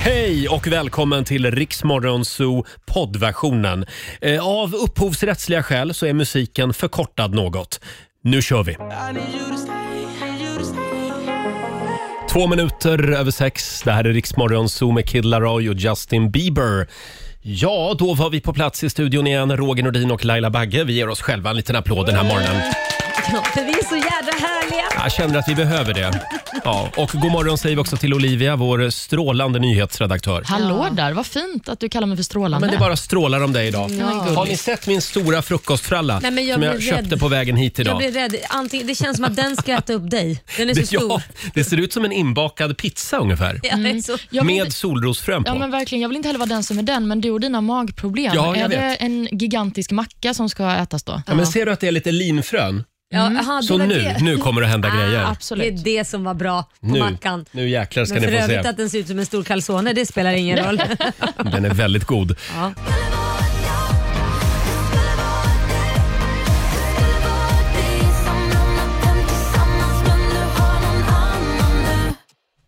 Hej och välkommen till Riksmorgon Zoo poddversionen. Eh, Av upphovsrättsliga skäl så är musiken förkortad något. Nu kör vi! Två minuter över sex. Det här är Riksmorgon Zoo med Kid Laroi och Justin Bieber. Ja, då var vi på plats i studion igen. Roger Nordin och Laila Bagge. Vi ger oss själva en liten applåd den här morgonen. Ja, för vi är så jädra härliga. Jag känner att vi behöver det. Ja, och god morgon säger vi också till Olivia, vår strålande nyhetsredaktör. Hallå där, vad fint att du kallar mig för strålande. Men det bara strålar om dig idag. Ja. Har ni sett min stora frukostfralla Nej, men jag som jag blir köpte rädd. på vägen hit Jag idag? blir rädd. Antingen, det känns som att den ska äta upp dig. Den är så Det, ja, stor. det ser ut som en inbakad pizza ungefär. Ja, det är så. Jag vill Med inte, solrosfrön ja, på. men verkligen, jag vill inte heller vara den som är den, men du och dina magproblem. Ja, jag är det vet. en gigantisk macka som ska ätas då? Ja, men ser du att det är lite linfrön? Ja, aha, det Mm. Så var nu, det. nu kommer det hända grejer. Det är Absolut. det som var bra på Nu, mackan. nu jäklar ska Men för ni få övrigt se. att den ser ut som en stor calzone, det spelar ingen roll. Den är väldigt god. Ja.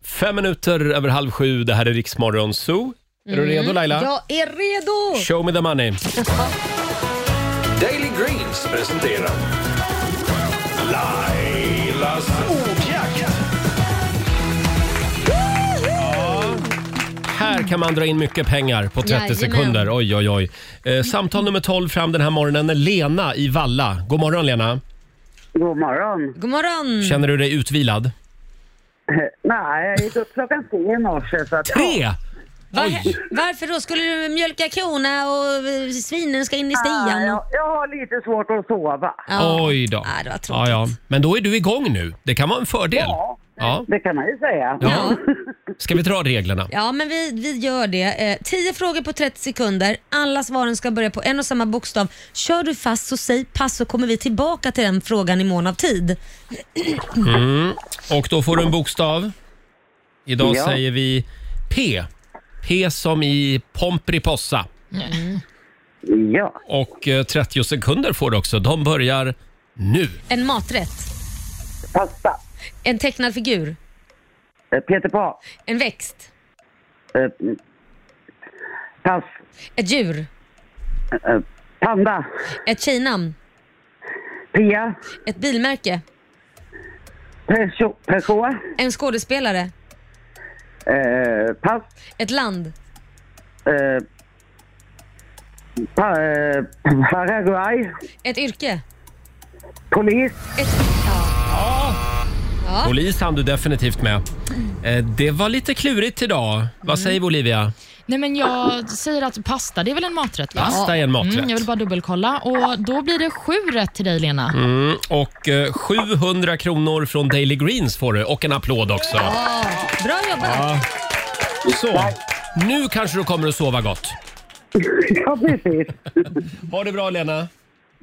Fem minuter över halv sju. Det här är Riksmorgon Zoo. Är Mm. du redo Laila? Jag är redo! Show me the money. Daily Greens presenterar Lailas ordjakt. Här kan man dra in mycket pengar på 30 Jajamän. sekunder. Oj, oj, oj. Eh, samtal nummer 12 fram den här morgonen. är Lena i Valla. God morgon Lena. God morgon. God morgon! Känner du dig utvilad? Nej, jag gick upp klockan tre i morse så att... Tre! Oj! Var, varför då? Skulle du mjölka korna och eh, svinen ska in i Ja, stian? jag, och- jag har lite svårt att sova. Ja. Oj då. Ja, det var tråkigt. Ja, ja. Men då är du igång nu. Det kan vara en fördel. Ja, Ja. det kan man ju säga. Ja. Ska vi dra reglerna? Ja, men vi, vi gör det. Eh, 10 frågor på 30 sekunder. Alla svaren ska börja på en och samma bokstav. Kör du fast så säg pass så kommer vi tillbaka till den frågan i mån av tid. Och då får du en bokstav. Idag Ja. säger vi P. P som i Pomperipossa. Ja. Och eh, 30 sekunder får du också. De börjar nu. En maträtt, Pasta. en tecknad figur, Eh, Peter Pan. en växt, Eh, Pass. ett djur, Eh, Panda. ett tjejnamn, Pia. ett bilmärke, Peugeot. Peugeot. en skådespelare, Eh, Pass. ett land, Eh, pa, eh, Paraguay. ett yrke. Polis. Ett, ja. Ja. Polis hann du definitivt med. Eh, Det var lite klurigt idag. Vad säger Olivia? Nej, men jag säger att pasta, det är väl en maträtt? Va? Pasta är en maträtt. Mm, jag vill bara dubbelkolla. Och Då blir det sju rätt till dig, Lena. Mm, och eh, 700 kronor från Daily Greens får du och en applåd också. Bra jobbat! Så, nu kanske du kommer att sova gott. Ja, precis. Ha det bra Lena.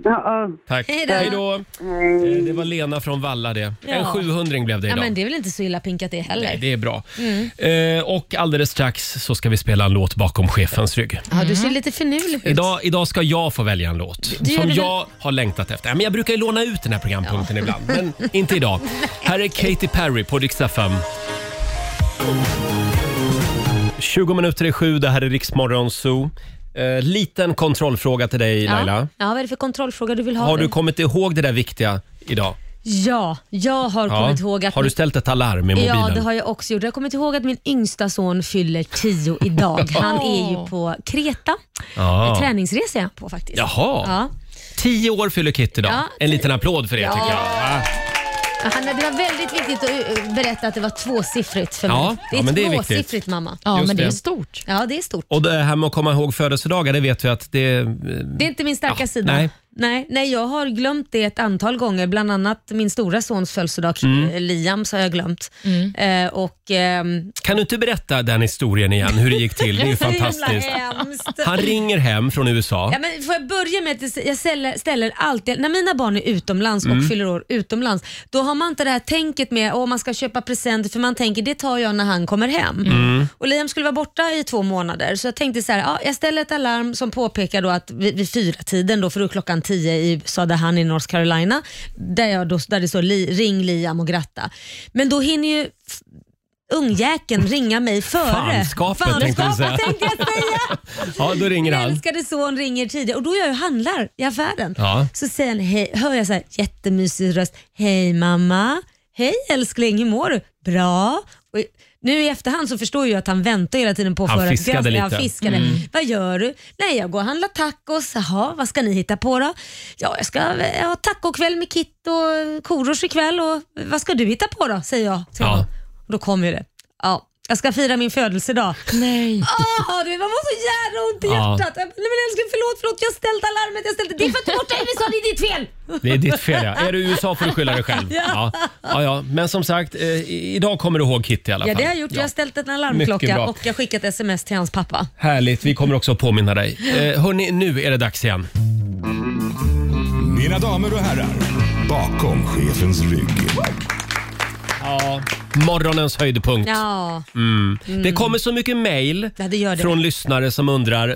Ja, ja. Tack. Hej då. Hej då. Eh, Det var Lena från Valla det. En 700 blev det Ja, idag. men det är väl inte så illa pinkat det Mm. heller? Nej, det är bra. Eh, och alldeles strax så ska vi spela en låt bakom chefens rygg. Ja, du ser lite finurlig ut. Mm. Idag, idag ska jag få välja en låt det gör som du väl? jag har längtat efter. Ja, Men jag brukar ju låna ut den här programpunkten ibland, men inte idag. Här är Katy Perry på Dix FM. 20 minuter i sju, det här är Riksmorgon Zoo. Eh, liten kontrollfråga till dig Laila. Ja. ja, vad är det för kontrollfråga du vill ha? Har du kommit ihåg det där viktiga idag? Ja, jag har Ja. kommit ihåg att Har du min- ställt ett alarm i mobilen? Ja, det har jag också gjort. Jag har kommit ihåg att min yngsta son fyller tio idag. Han är ju på Kreta. Ja. En träningsresa är han på faktiskt. Jaha. Ja. Tio år fyller Kit idag. Ja. En liten applåd för det tycker jag. Ja. Han, det var väldigt viktigt att eh, berätta att det var tvåsiffrigt för mig. Ja, det är ja, men det är viktigt. tvåsiffrigt mamma. Ja, Just men det det. är stort. Ja, det är stort. Och det här med att komma ihåg födelsedagar, det vet vi att det... eh, Det är inte min starka Ja, sida. nej. Nej, nej, jag har glömt det ett antal gånger. Bland annat min stora sons födelsedag, Mm. Liam, så har jag glömt. Eh, och, ehm, Kan du inte berätta den historien igen, hur det gick till? Det är ju så jävla fantastiskt. hemskt. Han ringer hem från USA. Ja, men får jag börja med att jag ställer, ställer alltid, när mina barn är utomlands och Mm. fyller år utomlands, då har man inte det här tänket med att man ska köpa presenter för man tänker det tar jag när han kommer hem. Mm. Och Liam skulle vara borta i två månader så jag tänkte så här, ja, jag ställer ett alarm som påpekar då att vid, vid fyra tiden då, för då är klockan tio i USA där han är i North Carolina, där, jag då, där det står li, ring Liam och gratta. Men då hinner ju ungjäkeln ringa mig före. Fanskapet tänkte du säga. Fanskapet tänkte jag säga. Ja, då ringer Min han. älskade son ringer tidigt och då är jag och handlar i affären. Ja. Så säger han, hej, hör jag så här jättemysig röst. Hej mamma. Hej älskling, hur mår du? Bra. Och i- nu i efterhand så förstår jag att han väntar hela tiden på Han för att granska- fiskade lite. Mm. Han fiskade. Vad gör du? Nej, jag går och handlar tacos. Jaha, vad ska ni hitta på då? Ja, jag ska eh, ha tacokväll med Kit och Korosh ikväll. Och, vad ska du hitta på då? Säger jag till Ja. honom. Och Då kommer ju det. Ja, jag ska fira min födelsedag. Nej. Åh, Ah, du vet, man får så jävla ont i Ja. hjärtat. Jag bara, Nej, men älskling, förlåt, förlåt. Jag har ställt alarmet. Jag ställde. Det är för att du är borta i USA. Det är ditt fel. Det är ditt fel ja. Är du i USA får du skylla dig själv. Ja. Ja, ja. Men som sagt, eh, i- idag kommer du ihåg Kitty i alla fall. Ja, det har jag gjort. Jag har ställt en Mycket alarmklocka bra. och jag har skickat sms till hans pappa. Härligt, vi kommer också att påminna dig. Eh, hörni, nu är det dags igen. Mina damer och herrar, bakom chefens rygg. Ja. Morgonens höjdpunkt. Ja, Mm. Mm. Det kommer så mycket mejl Ja, det gör det. från lyssnare som undrar eh,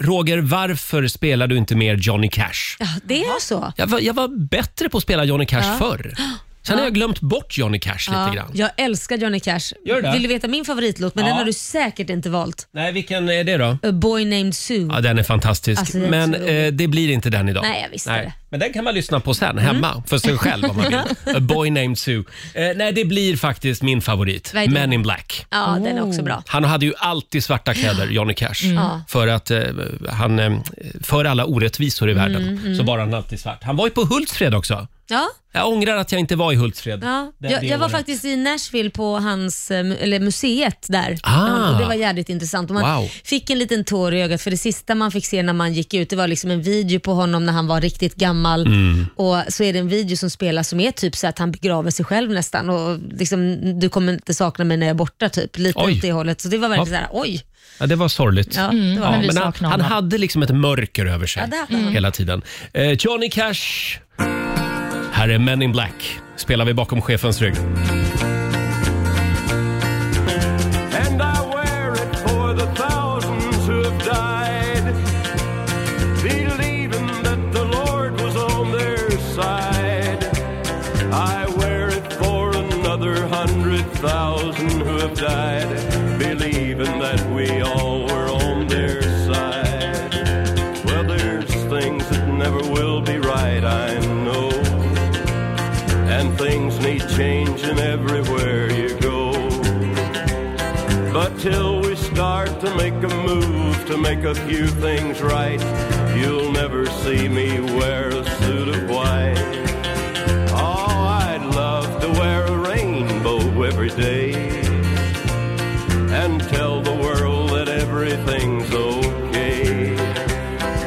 Roger, varför spelar du inte mer Johnny Cash? ja det är så. Jag var, jag var bättre på att spela Johnny Cash förr. Sen har jag glömt bort Johnny Cash Ja, lite grann. jag älskar Johnny Cash. Gör du det? Vill du veta min favoritlåt? Men Ja. den har du säkert inte valt. Nej, vilken är det då? A Boy Named Sue. Ja, den är fantastisk. Alltså, den är men så rolig. eh, det blir inte den idag. Mm. Nej, jag visste det. Men den kan man lyssna på sen hemma för sig själv om man vill. A boy named Sue. Eh, nej, det blir faktiskt min favorit. Vad är det? Men in Black. Ja, den är också bra. Han hade ju alltid svarta kläder, Johnny Cash. Mm. För att eh, han, eh, för alla orättvisor i världen så var han alltid svart. Han var ju på Hultsfred också. Ja, Jag ångrar att jag inte var i Hultsfred. ja. det- Jag, det jag var året. faktiskt i Nashville på hans, eh, mu- eller museet där. Ah. Och det var jävligt intressant. Och man Wow. fick en liten tår i ögat för det sista man fick se när man gick ut det var liksom en video på honom när han var riktigt gammal. Mm. Och så är det en video som spelas som är typ så att han begraver sig själv nästan och liksom, du kommer inte sakna mig när jag är borta typ. Lite Oj. åt det hållet. Så det var verkligen Ja. så här, oj. Ja, det var sorgligt. Ja, det var det. Ja, Men vi han, saknar han honom. hade liksom ett mörker över sig Ja, det hade han. hela tiden. Eh, Johnny Cash. Här är Men in Black. Spelar vi bakom chefens rygg. And I wear it for the thousands who have died, believing that the Lord was on their side. I wear it for another hundred thousand who have died, believing that we all were on their side. Well, there's things that never will be right, I know. And things need changing everywhere you go. But till we start to make a move to make a few things right, you'll never see me wear a suit of white. Oh, I'd love to wear a rainbow every day and tell the world that everything's okay.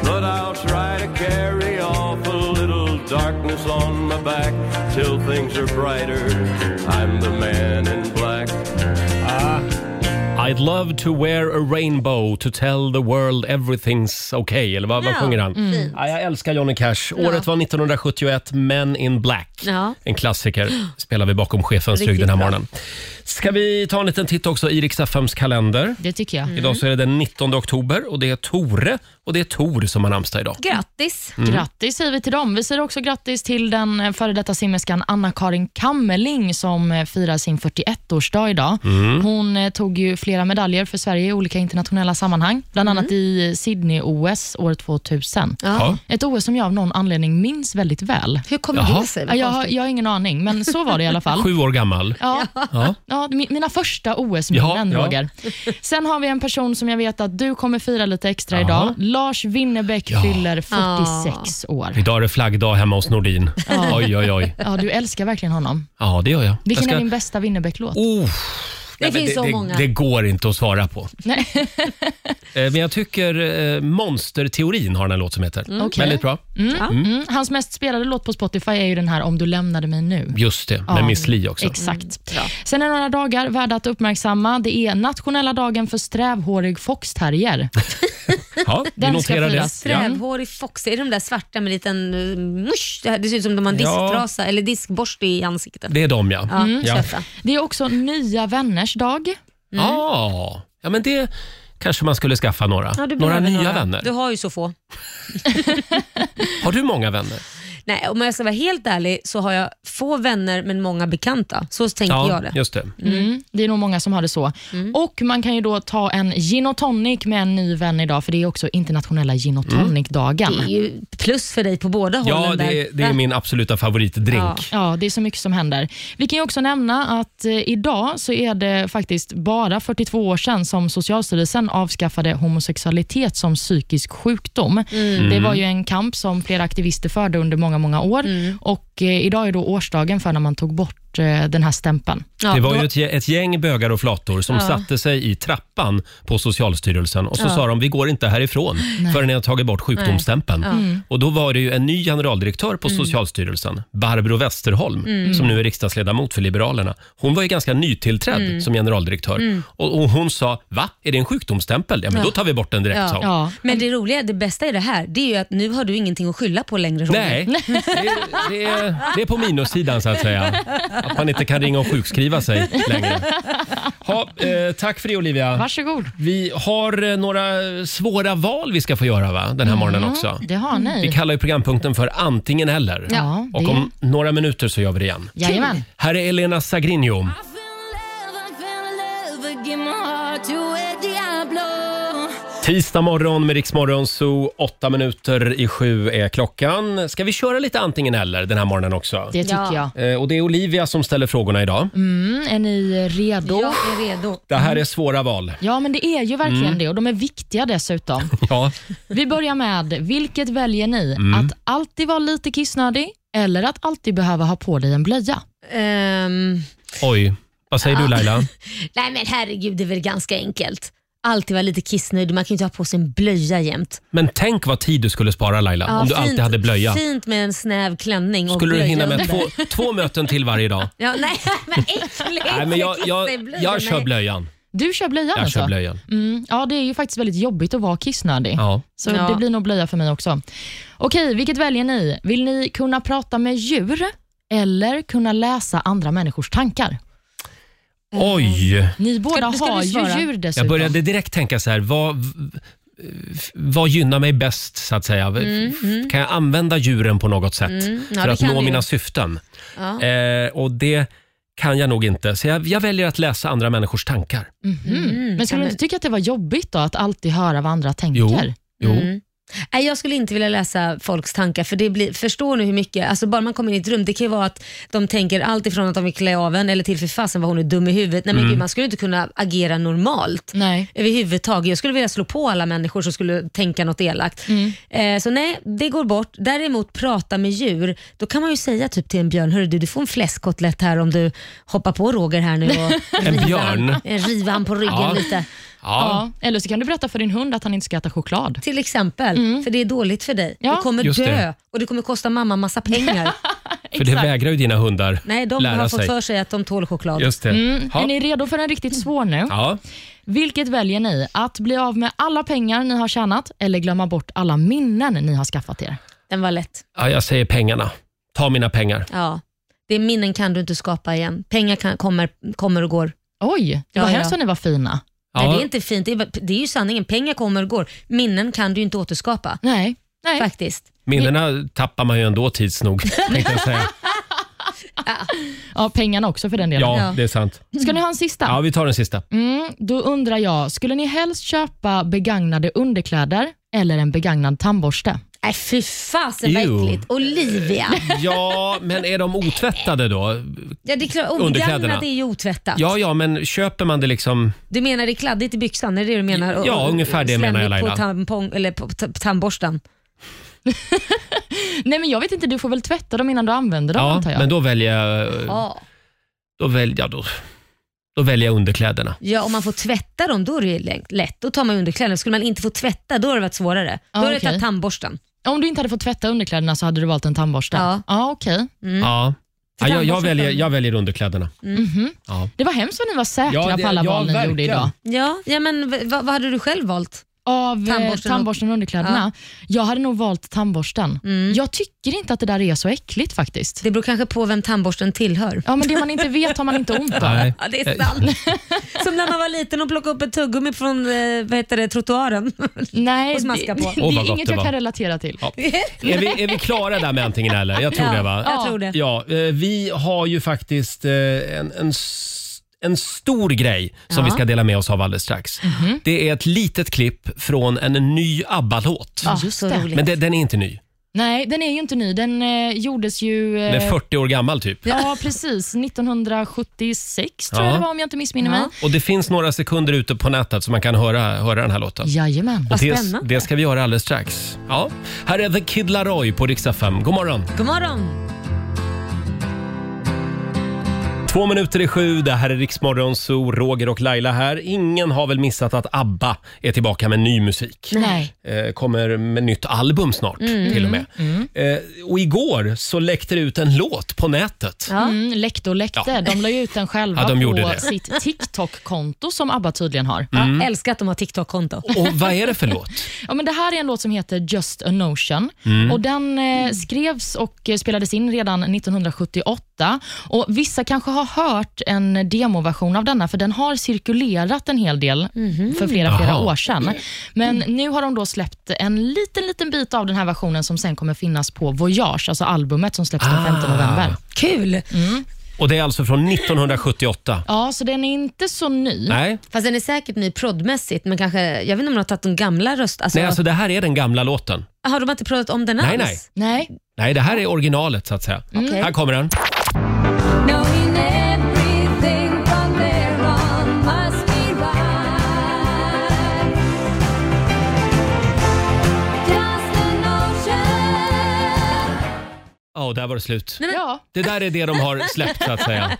But I'll try to carry off a little darkness on my back till things are brighter. I'm the man in black. I'd love to wear a rainbow to tell the world everything's okay. Eller vad, vad Ja, sjunger han? Ja, jag älskar Johnny Cash. Året var 1971, Men in Black. Ja. En klassiker spelar vi bakom chefens rygg Riktigt den här bra. morgonen. Ska vi ta en liten titt också i Rix FMs kalender? Det tycker Mm. jag. Idag så är det den 19 oktober och det är Tore och det är Tor som har namnsdag idag. Grattis. Mm. Grattis säger vi till dem. Vi säger också grattis till den eh, före detta simmerskan Anna-Karin Kammerling som eh, firar sin 41-årsdag idag. Hon eh, tog ju flera medaljer för Sverige i olika internationella sammanhang, bland annat i eh, Sydney-OS år 2000. Mm. Ja. Ett OS som jag av någon anledning minns väldigt väl. Hur kommer Jaha. det sig? Ja, Jag har, jag har ingen aning, men så var det i alla fall. Sju år gammal. Ja. Ja. Ja. mi- mina första OS-minnen, Ja, ja. Roger. Sen har vi en person som jag vet att du kommer fira lite extra Jaha. idag. Lars Winnerbäck fyller 46 år. Idag är det flaggdag hemma hos Nordin. Ja. Oj, oj, oj. Ja, du älskar verkligen honom. Ja, det gör jag. Vilken jag är din bästa Winnerbäck-låt? Oh. Det Nej, men finns så det, många. Det går inte att svara på. Nej. Eh, Men jag tycker eh, Monsterteorin har den här låt som heter. Okej. Väldigt bra. Mm. Hans mest spelade låt på Spotify är ju den här Om du lämnade mig nu. Just det, med Ja, Miss Li också. Exakt. Sen är det några dagar värda att uppmärksamma. Det är nationella dagen för strävhårig foxterrier. Ja, vi Den ska noterar det. firas. Ja. Strävhårig fox, är de där svarta med liten eh, musch? Det, här, det ser ut som de har en Ja. disktrasa eller diskborste i ansiktet. Det är de ja. Mm. Ja, ja. köpa. Det är också nya vänners dag. Mm. Ah, ja, men det kanske man skulle skaffa några. Ja, du några behöver nya vänner. Du har ju så få. Har du många vänner? Nej, om jag ska vara helt ärlig så har jag få vänner men många bekanta. Så tänker jag det. just det. Mm. Det är nog många som har det så. Och Man kan ju då ta en gin och tonic med en ny vän idag, för det är också internationella gin och Mm. tonic-dagen. Det är ju plus för dig på båda Ja, hållen. där. det är, det är Va? min absoluta favoritdrink. Ja. Ja, det är så mycket som händer. Vi kan ju också nämna att eh, idag så är det faktiskt bara 42 år sedan som Socialstyrelsen avskaffade homosexualitet som psykisk sjukdom. Det var ju en kamp som flera aktivister förde under många, många år och eh, idag är då årsdagen för när man tog bort eh, den här stämpeln. Ja, det var då- ju ett, gä- ett gäng bögar och flator som satte sig i trappan på Socialstyrelsen och så sa de vi går inte härifrån förrän ni har tagit bort sjukdomsstämpeln. Och då var det ju en ny generaldirektör på Socialstyrelsen, Barbro Westerholm, som nu är riksdagsledamot för Liberalerna. Hon var ju ganska nytillträdd som generaldirektör och, och hon sa va, är det en sjukdomsstämpel? Ja men då tar vi bort den direkt sa hon. Ja. Men det roliga, det bästa i det här, det är ju att nu har du ingenting att skylla på längre. Roger. Nej, det, det, är, det är på minussidan så att säga. Att man inte kan ringa och sjukskriva sig längre. Ha, eh, tack för det Olivia. Varsågod. Vi har eh, några svåra val vi ska få göra va? den här morgonen också. Det har Vi ni. kallar ju programpunkten för antingen eller. Ja, Och det- om några minuter så gör vi det igen. Jajamän. Här är Elena Sagrinho. Tisdag morgon med Riksmorgon så åtta minuter i sju är klockan. Ska vi köra lite antingen eller den här morgonen också? Det tycker Ja. jag. Eh, Och det är Olivia som ställer frågorna idag. Mm, är ni redo? Jag är redo. Det här är svåra val. Ja, men det är ju verkligen det och de är viktiga dessutom. Ja. Vi börjar med, vilket väljer ni? Mm. Att alltid vara lite kissnödig eller att alltid behöva ha på dig en blöja? Ehm, Oj. Vad säger du Laila? nej men herregud, det är väl ganska enkelt. Alltid vara lite kissnödig, man kan ju inte ha på sig en blöja jämt. Men tänk vad tid du skulle spara Laila Ja, om du fint- alltid hade blöja. Fint med en snäv klänning och Skulle du blöja hinna med under. två, två möten till varje dag? Ja, nej men äckligt! Nej, men jag, jag, Kissa i blöja, jag kör nej. blöjan. Du kör blöjan Jag alltså? kör blöjan. Mm, ja, det är ju faktiskt väldigt jobbigt att vara kissnödig. Ja. Så Ja. det blir nog blöja för mig också. Okej, vilket väljer ni? Vill ni kunna prata med djur eller kunna läsa andra människors tankar? Mm. Oj! Ni båda ska du har svara? ju djur dessutom. Jag började direkt tänka så här, vad, vad gynnar mig bäst så att säga? Kan jag använda djuren på något sätt Mm, ja, för det att kan nå du. mina syften? Ja. Mm. Eh, och det kan jag nog inte, så jag, jag väljer att läsa andra människors tankar. Mm. Ja, Men skulle du men- inte tycka att det var jobbigt då att alltid höra vad andra tänker? Jo. Mm. Nej, jag skulle inte vilja läsa folks tankar, för det blir, förstår ni hur mycket, alltså bara man kommer in i ett rum, det kan ju vara att de tänker allt ifrån att de vill klä av en eller till för fasen vad hon är dum i huvudet. Nej men Mm. gud, man skulle inte kunna agera normalt. Nej. överhuvudtaget. Jag skulle vilja slå på alla människor som skulle tänka något elakt. Eh, så nej, det går bort. Däremot prata med djur, då kan man ju säga typ till en björn, hörru du, du får en fläskkotlett här om du hoppar på Roger här nu och En riva björn? han- eh, riva han på ryggen Ja. lite. Ja. Ja. Eller så kan du berätta för din hund att han inte ska äta choklad. Till exempel, för det är dåligt för dig. Ja. Du kommer Just dö det. och det kommer kosta mamma massa pengar. För det vägrar ju dina hundar nej, de lära har fått sig. för sig att de tål choklad. Just det. Mm. Ja. Är ni redo för en riktigt svår nu? Ja. Vilket väljer ni? Att bli av med alla pengar ni har tjänat eller glömma bort alla minnen ni har skaffat er? Den var lätt. ja, jag säger pengarna. Ta mina pengar. Ja. Det är minnen kan du inte skapa igen. Pengar kan, kommer, kommer och går. Oj, Ja, vad ja. hemskt vad ni var fina. Ja. Nej, det är inte fint. Det är, bara- det är ju sanningen. Pengar kommer och går. Minnen kan du ju inte återskapa. Nej. Nej. Faktiskt. Minnena tappar man ju ändå tids nog. tänkte jag säga. Ja, pengarna också för den delen. Ja, det är sant. Ska ni ha en sista? Ja, vi tar den sista. Mm, då undrar jag, skulle ni helst köpa begagnade underkläder eller en begagnad tandborste? Nej, fy fasen vad Ew. äckligt. Olivia. Eh. Ja, men är de otvättade då? Ja, det är klart. Underkläderna. Ogagnat är ju otvättat. Ja, ja, men köper man det liksom... Du menar det är kladdigt i byxan? Är det det du menar? Och- Ja, och- ungefär det menar Eh. jag, slemmigt Laila. På, tampong, eller på t- tandborsten. Nej, men jag vet inte, du får väl tvätta dem innan du använder dem Ja, antar jag. men då väljer jag... Ja. Då väljer jag... Då, då väljer jag underkläderna. ja, om man får tvätta dem då är det ju lä- lätt. Då tar man ju underkläderna. Skulle man inte få tvätta då har det varit svårare. Då Ja, har du okej. tagit tandborsten. Om du inte hade fått tvätta underkläderna så hade du valt en tandborste? Ja. ja okej. Mm. Ja. ja jag, jag, tandborsten- väljer, jag väljer underkläderna. Mhm. Ja. Det var hemskt vad ni var säkra Ja, det- på alla ja, val ni gjorde verkligen. idag. Ja, ja men v- vad vad hade du själv valt? av Tandborsten tandborsten, och- tandborsten och underkläderna. Jag hade nog valt tandborsten. Mm. Jag tycker inte att det där är så äckligt faktiskt. Det beror kanske på vem tandborsten tillhör. Ja, men det man inte vet har man inte ont av. Nej. Ja, det är sant. Som när man var liten och plockade upp ett tuggummi från eh, vad heter det, trottoaren. Nej, Och smaska på. det, det Åh, vad är gott inget det jag var. kan relatera till. Ja. Är, vi, är vi klara där med antingen eller? Jag tror Ja, det va? Jag tror det. Ja, eh, vi har ju faktiskt eh, en, en, s- en stor grej som Ja. Mhm. vi ska dela med oss av alldeles strax. Det är ett litet klipp från en ny ABBA-låt. Ja, Just just så det. roligt. Men det, den är inte ny. Nej, den är ju inte ny. Den eh, gjordes ju... eh, Den är 40 år gammal typ. Ja, precis. 1976 tror Ja. jag det var om jag inte missminner mig. Ja. Och det finns några sekunder ute på nätet så man kan höra, höra den här låten. Jajamän. Och Vad det, spännande. det ska vi göra alldeles strax. Ja. Här är The Kid Laroi på riksdag 5. God morgon! God morgon. Två minuter i sju, det här är Riksmorgon Zoo, Roger och Laila här. Ingen har väl missat att ABBA är tillbaka med ny musik. Nej. Eh, kommer med nytt album snart till och med. Eh, och igår så läckte det ut en låt på nätet. Mm, läckte och läckte. De la ju ut den själva Ja, de på gjorde det. sitt TikTok-konto som ABBA tydligen har. Jag älskar att de har TikTok-konto. Och vad är det för låt? Ja, men det här är en låt som heter Just a Notion. Mm. Och den eh, skrevs och eh, spelades in redan 1978. Och Vissa kanske har hört en demoversion av denna, för den har cirkulerat en hel del för flera, flera Aha. år sedan. Men nu har de då släppt en liten, liten bit av den här versionen som sen kommer finnas på Voyage, alltså albumet som släpps den Ah. 5 november. Kul! Och det är alltså från 1978. Ja, så den är inte så ny. Nej, Fast den är säkert ny proddmässigt, men kanske, jag vet inte om de har tagit de gamla röst... Alltså, nej alltså det här är den gamla låten. Har de inte proddat om den Nej, alls? nej. Nej. Nej, det här är originalet så att säga. Mm. Okej. Här kommer den. Knowing everything from there on must be right. Just an ocean. Ja, och där var det slut. Ja. Det där är det de har släppt så att säga.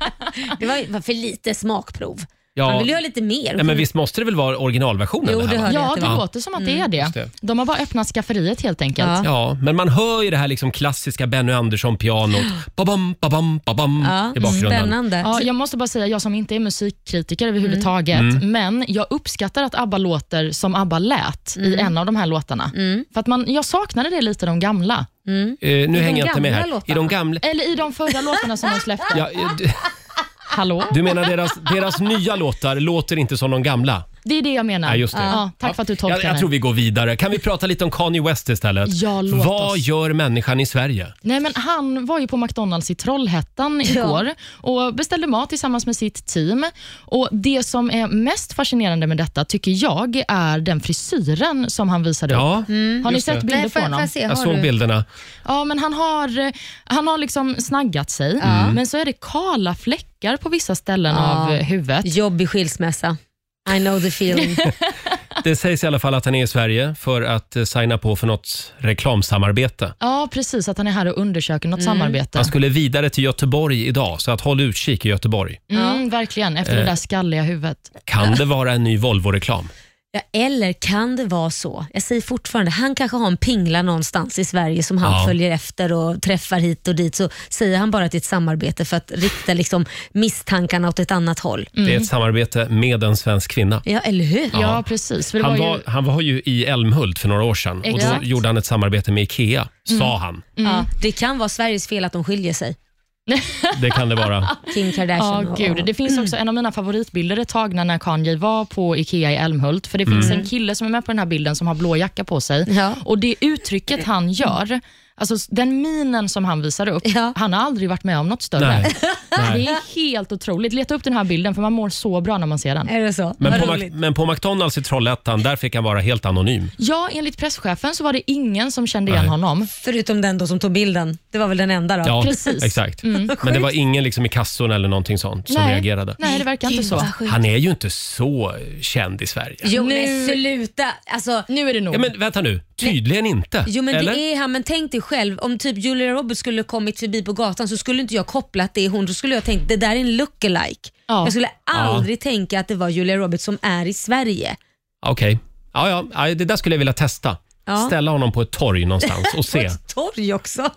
Det var, var för lite smakprov. Ja. Man vill ju ha lite mer. Nej, men visst måste det väl vara originalversionen? Jo, här, det va? hör jag Ja, att det det var. låter som att det är det. det. De har bara öppnat skafferiet helt enkelt. Ja. Ja, men man hör ju det här liksom klassiska Benny Andersson-pianot. Babam, babam, babam Ja, i bakgrunden. spännande. Ja, jag måste bara säga, jag som inte är musikkritiker Mm. överhuvudtaget, Mm. men jag uppskattar att ABBA låter som ABBA lät i Mm. en av de här låtarna. För att man, jag saknade det lite, de gamla. Eh, nu de hänger jag inte med här. gamla I de gamla Eller i de förra låtarna som de släppte. ja, eh, du, Hallå? du menar deras, deras nya låtar låter inte som de gamla? Det är det jag menar. Ja, just det. Ja, tack för att du tolkar Jag, jag tror vi går vidare. Kan vi prata lite om Kanye West istället? Ja, låt Vad oss. gör människan i Sverige? Nej, men han var ju på McDonalds i Trollhättan igår och beställde mat tillsammans med sitt team. Och Det som är mest fascinerande med detta, tycker jag, är den frisyren som han visade upp. Ja, Har ni just det. sett bilder Nej, på får, jag- får honom? jag se? jag Mm, Har såg du? bilderna. Ja, men han har, eh, han har liksom snaggat sig, Mm. men så är det kala fläckar på vissa ställen Ja. av eh, huvudet. Jobbig skilsmässa. I know the feeling. Det sägs i alla fall att han är i Sverige för att eh, signa på för något reklamsamarbete. Ja, precis. Att han är här och undersöker något Mm. samarbete. Han skulle vidare till Göteborg idag, så att håll utkik i Göteborg. Mm, verkligen, efter Eh. det där skalliga huvudet. Kan det vara en ny Volvo-reklam? ja, eller kan det vara så, jag säger fortfarande, han kanske har en pingla någonstans i Sverige som han Ja. följer efter och träffar hit och dit, så säger han bara att det är ett samarbete för att rikta liksom, misstankarna åt ett annat håll. Det är Mm. ett samarbete med en svensk kvinna. Ja, eller hur? Ja, Ja. precis. För det Han var ju... var, han var ju i Älmhult för några år sedan och då Exakt. gjorde han ett samarbete med IKEA, sa Mm. han. Ja, det kan vara Sveriges fel att de skiljer sig. Det kan det vara. Kim Ja, Kardashian och- gud. Det finns också en av mina favoritbilder är tagna när Kanye var på IKEA i Älmhult. För det finns Mm. en kille som är med på den här bilden som har blå jacka på sig. Ja. Och det uttrycket han gör, alltså den minen som han visar upp, Ja. han har aldrig varit med om något större. Nej. Det Nej. är helt otroligt. Leta upp den här bilden för man mår så bra när man ser den. Är det så? Men, Vad på, roligt. Mac- men på McDonalds i Trollhättan, där fick han vara helt anonym. Ja, enligt presschefen så var det ingen som kände igen Nej. honom. Förutom den då som tog bilden. Det var väl den enda då? Ja, Precis. Mm. exakt. Men det var ingen liksom i kassorna eller någonting sånt som Nej. reagerade. Nej, det verkar inte så. Han är ju inte så känd i Sverige. Jo, Nu- men sluta. Alltså, Nu är det nog. Ja, men vänta nu, tydligen inte. Jo men eller? det är han, men tänk dig själv om typ Julia Roberts skulle kommit förbi på gatan så skulle inte jag koppla att det är hon. Då skulle jag tänkt det där är en lookalike. Ja. Jag skulle aldrig tänka att det var Julia Roberts som är i Sverige. Okej. Ja, ja, ja, det där skulle jag vilja testa. Ja. Ställa honom på ett torg någonstans och På se. ett torg också.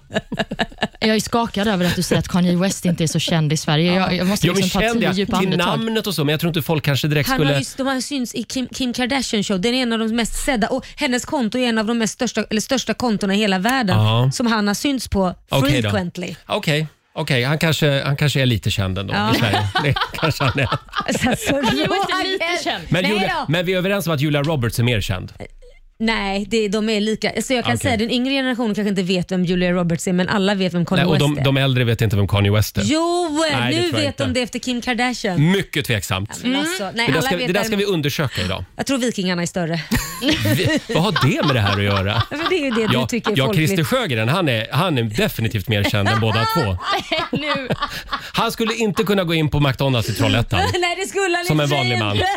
Jag är skakad över att du säger att Kanye West inte är så känd i Sverige. Jag, jag måste Ja, men liksom ta känd tio jag, djupa till andetag. namnet och så, men jag tror inte folk kanske direkt Han har skulle... ju, de har syns i Kim, Kim Kardashian show. Den är en av de mest sedda och hennes konto är en av de mest största, eller största kontona i hela världen Ja. som han har synts på Okej då. frequently. Okej, okej, han, kanske, han kanske är lite känd ändå Ja. i Sverige. Det kanske han är. Så, Alltså, så, är lite känd. Men, Nej Julia, då. men vi är överens om att Julia Roberts är mer känd. Nej, det, de är lika. Alltså jag kan Okej. säga den yngre generationen kanske inte vet vem Julia Roberts är men alla vet vem Kanye Nej, och West de, är. de äldre vet inte vem Kanye West är. Jo, Nej, det nu tror jag vet inte. de det efter Kim Kardashian. Mycket tveksamt. Men Alltså, nej, Det där, alla ska, vet det där ska vi däremot- undersöka idag. Jag tror vikingarna är större. Vi, vad har det med det här att göra? Ja, men det är ju det du Ja, tycker är ja folkligt. Christer Sjögren, han är, han är definitivt mer känd än båda två. Nu. Han skulle inte kunna gå in på McDonalds i Trollhättan. Nej, det skulle han Som i en och för sig vanlig man. inte.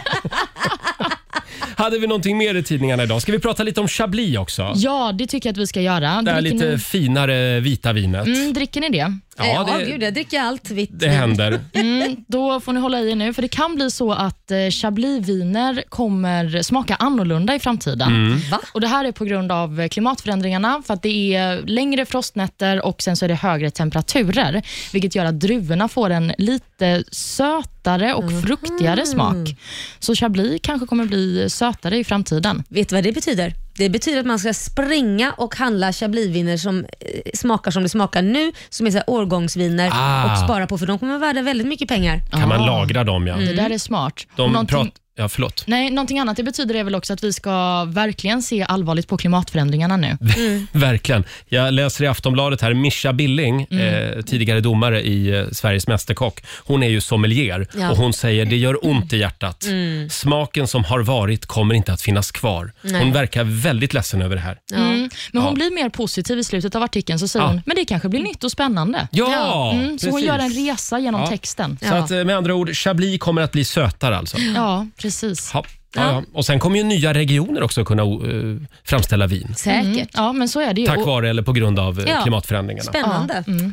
Hade vi någonting mer i tidningarna idag? Ska vi prata lite om Chablis också? Ja, det tycker jag att vi ska göra. Det här Dricker lite ni, finare vita vinet. mm, eh, dricker ni det? Ja, Ja, gud, det, jag dricker allt vitt. det händer. Mm, då får ni hålla i er nu, för det kan bli så att eh, Chablis-viner kommer smaka annorlunda i framtiden. Mm. Va? Och Det här är på grund av eh, klimatförändringarna, för att det är längre frostnätter och sen så är det högre temperaturer, vilket gör att druvorna får en lite sötare och fruktigare smak. Så Chablis kanske kommer bli sötare i framtiden. Vet du vad det betyder? Det betyder att man ska springa och handla chablisviner som eh, smakar som det smakar nu, som är så här årgångsviner Ah. Mm. och spara på för de kommer vara värda väldigt mycket pengar. Kan man Ah. lagra dem, ja. Det där är smart. Och De någonting- prat- Ja, förlåt. Nej, någonting annat det betyder är väl också att vi ska verkligen se allvarligt på klimatförändringarna nu. Verkligen. Jag läser i Aftonbladet här, Mischa Billing, eh, tidigare domare i eh, Sveriges Mästerkock. Hon är ju sommelier Ja. och hon säger det gör ont i hjärtat. Smaken som har varit kommer inte att finnas kvar. Hon verkar väldigt ledsen över det här. Ja, Mm. Men hon Ja. blir mer positiv i slutet av artikeln, så säger Ja. hon, men det kanske blir nytt och spännande. Mm, så hon precis. gör en resa genom Ja. texten. Så att, eh, med andra ord, Chablis kommer att bli sötare alltså. Ja, precis. Ja. Ja, ja. Och sen kommer ju nya regioner också kunna eh, framställa vin. Säkert. Mm. Ja, men så är det ju. Tack Och- vare eller på grund av eh, Ja. klimatförändringarna. Spännande. Mm.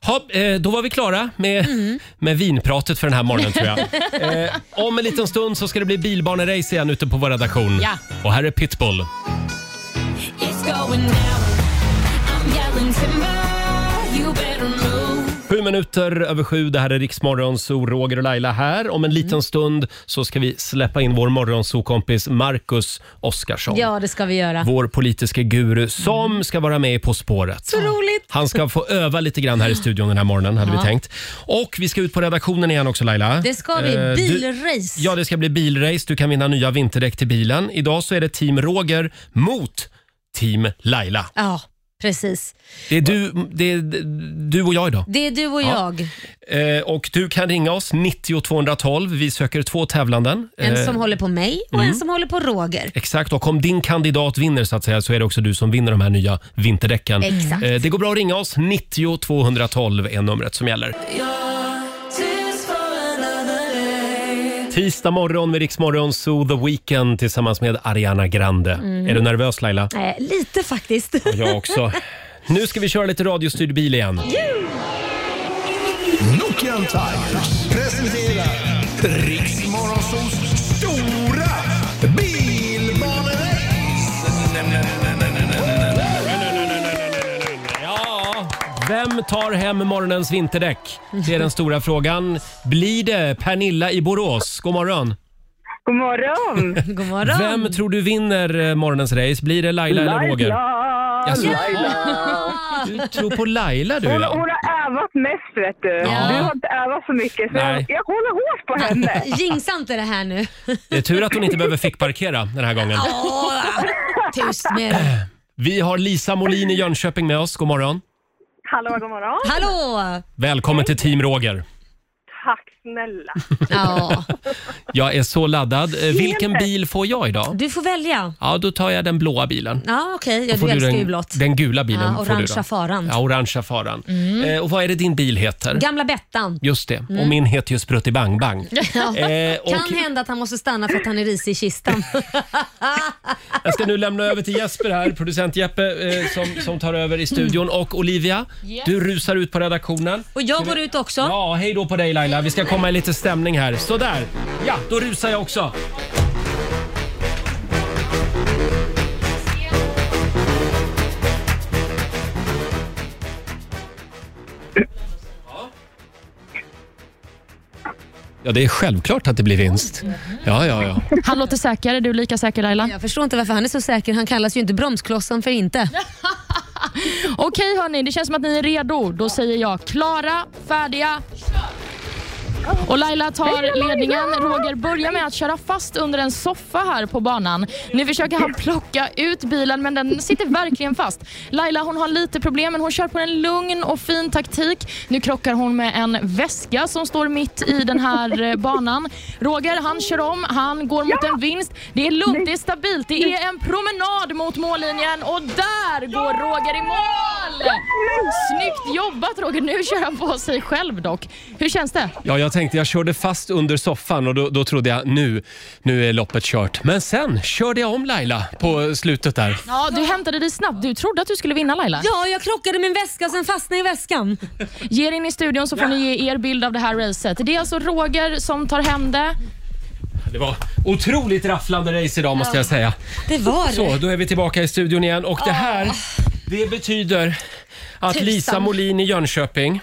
Ha, eh, då var vi klara med, Mm. med vinpratet för den här morgonen tror jag. Eh, om en liten stund så ska det bli bilbanerace igen ute på vår redaktion. Ja. Och här är Pitbull. It's going down. I'm yelling timber. You better move. Sju minuter över sju, det här är Riksmorgon, så Roger och Laila här. Om en liten Mm. stund så ska vi släppa in vår morgonsokompis Marcus Oskarsson. Ja, det ska vi göra. Vår politiska guru som ska vara med i På spåret. Så roligt. Han ska få öva lite grann här i studion den här morgonen hade vi tänkt. Och vi ska ut på redaktionen igen också Laila. Det ska vi. Eh, du- Bilrace. Ja, det ska bli bilrace. Du kan vinna nya vinterdäck till bilen. Idag så är det Team Roger mot Team Laila. Ja, precis. Det är du, det är du och jag idag. Det är du och Ja. jag. Eh, och du kan ringa oss, 90 212. Vi söker två tävlanden. En Eh, mm. som håller på mig och en som håller på Roger. Exakt, och om din kandidat vinner så att säga så är det också du som vinner de här nya vinterdäcken. Exakt. Eh, Det går bra att ringa oss, 90 212 är numret som gäller. Tisdag morgon med Riksmorgon Zoo The Weeknd tillsammans med Ariana Grande. Är du nervös Laila? Nej, Eh, lite faktiskt. Jag också. Nu ska vi köra lite radiostyrd bil igen. Nokian Tigers presenterar Riksmorgonsols stora bilbanerace. Ja, vem tar hem morgonens vinterdäck? Det är den stora frågan. Blir det Pernilla i Borås? God morgon. God morgon! God morgon. Vem tror du vinner eh, morgonens race? Blir det Laila eller Roger? Jaså? Du tror på Laila du Hon, ja. hon har övat mest vet du. Ja. Du har inte övat så mycket så Nej. jag, jag håller hårt på henne. Jinxa inte det här nu. Det är tur att hon inte behöver fickparkera den här gången. Åh, tyst med dig. Vi har Lisa Molin i Jönköping med oss. God morgon. Hallå, god morgon. Hallå! Välkommen till Team Roger. Tack snälla. Ja, Jag är så laddad. Eh, Vilken bil får jag idag? du får välja. Ja, då tar jag den blåa bilen. Ja, okej. Ja, du Får du älskar den, ju blått. Den gula bilen Ja, får du orangea då. faran. Mm. Ja, orangea faran. Eh, och vad är det din bil heter? Gamla Bettan. Just det, och min heter ju Sprutti Bang Bang. Eh, och Mm. Kan hända att han måste stanna för att han är risig i kistan. jag ska nu lämna över till Jesper här, producent Jeppe eh, som, som tar över i studion. Och Olivia, Ja. du rusar ut på redaktionen. Och jag går ut också. Ja, hej då på dig Laila. Vi ska komma i lite stämning här. Sådär, ja då rusar jag också. Ja, det är självklart att det blir vinst. Ja, ja, ja. Han låter säker. Är du lika säker Laila? Jag förstår inte varför han är så säker. Han kallas ju inte bromsklossan för inte. Okej hörni, det känns som att ni är redo. Då säger jag klara, färdiga, kör! Och Laila tar ledningen. Roger börjar med att köra fast under en soffa här på banan. Nu försöker han plocka ut bilen men den sitter verkligen fast. Laila hon har lite problem men hon kör på en lugn och fin taktik. Nu krockar hon med en väska som står mitt i den här eh, banan. Roger han kör om, han går mot en vinst. Det är lugnt, det är stabilt, det är en promenad mot mållinjen och där går Roger i mål! Snyggt jobbat Roger, nu kör han på sig själv dock. Hur känns det? Ja, jag tänkte jag körde fast under soffan och då, då trodde jag nu, nu är loppet kört. Men sen körde jag om Laila på slutet där. Ja, du hämtade dig snabbt. Du trodde att du skulle vinna Laila. Ja, jag krockade min väska och sen fastnade i väskan. Ge er in i studion så får ni ge er bild av det här racet. Det är alltså Roger som tar hem det. Det var otroligt rafflande race idag måste jag säga. Det var Så, det. då är vi tillbaka i studion igen och det här, det betyder att Tusan. Lisa Molin i Jönköping,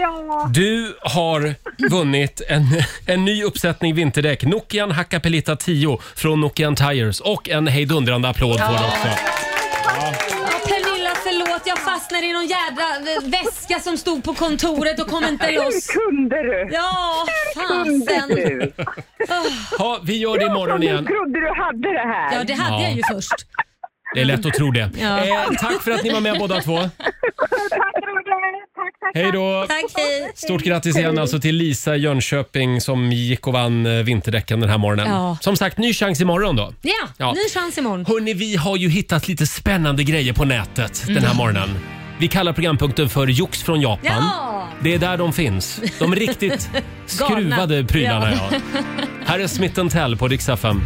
Ja, du har vunnit en, en ny uppsättning vinterdäck. Nokian Hakkapelita 10 från Nokian Tires och en hejdundrande applåd får du också. Ja, Pernilla, förlåt. Jag fastnade i någon jädra eh, väska som stod på kontoret och kom inte loss. kunde du? Ja, Kunde fasen. du? Ja, vi gör det imorgon Du igen. trodde du hade det här. Ja, det hade jag ju först. Det är lätt att tro det. Ja. Eh, tack för att ni var med båda två. Tack, Roger. Tack, tack. Hej då! Tack, hej. Stort grattis igen alltså till Lisa i Jönköping som gick och vann eh, vinterdäcken den här morgonen. Ja. Som sagt, ny chans imorgon då. Ja, Ja. ny chans imorgon. Hörni, vi har ju hittat lite spännande grejer på nätet den Mhm. här morgonen. Vi kallar programpunkten för Jox från Japan. Ja! Det är där de finns. De riktigt skruvade Galna. prylarna. Ja. Här är Smith Tell på Rix FM.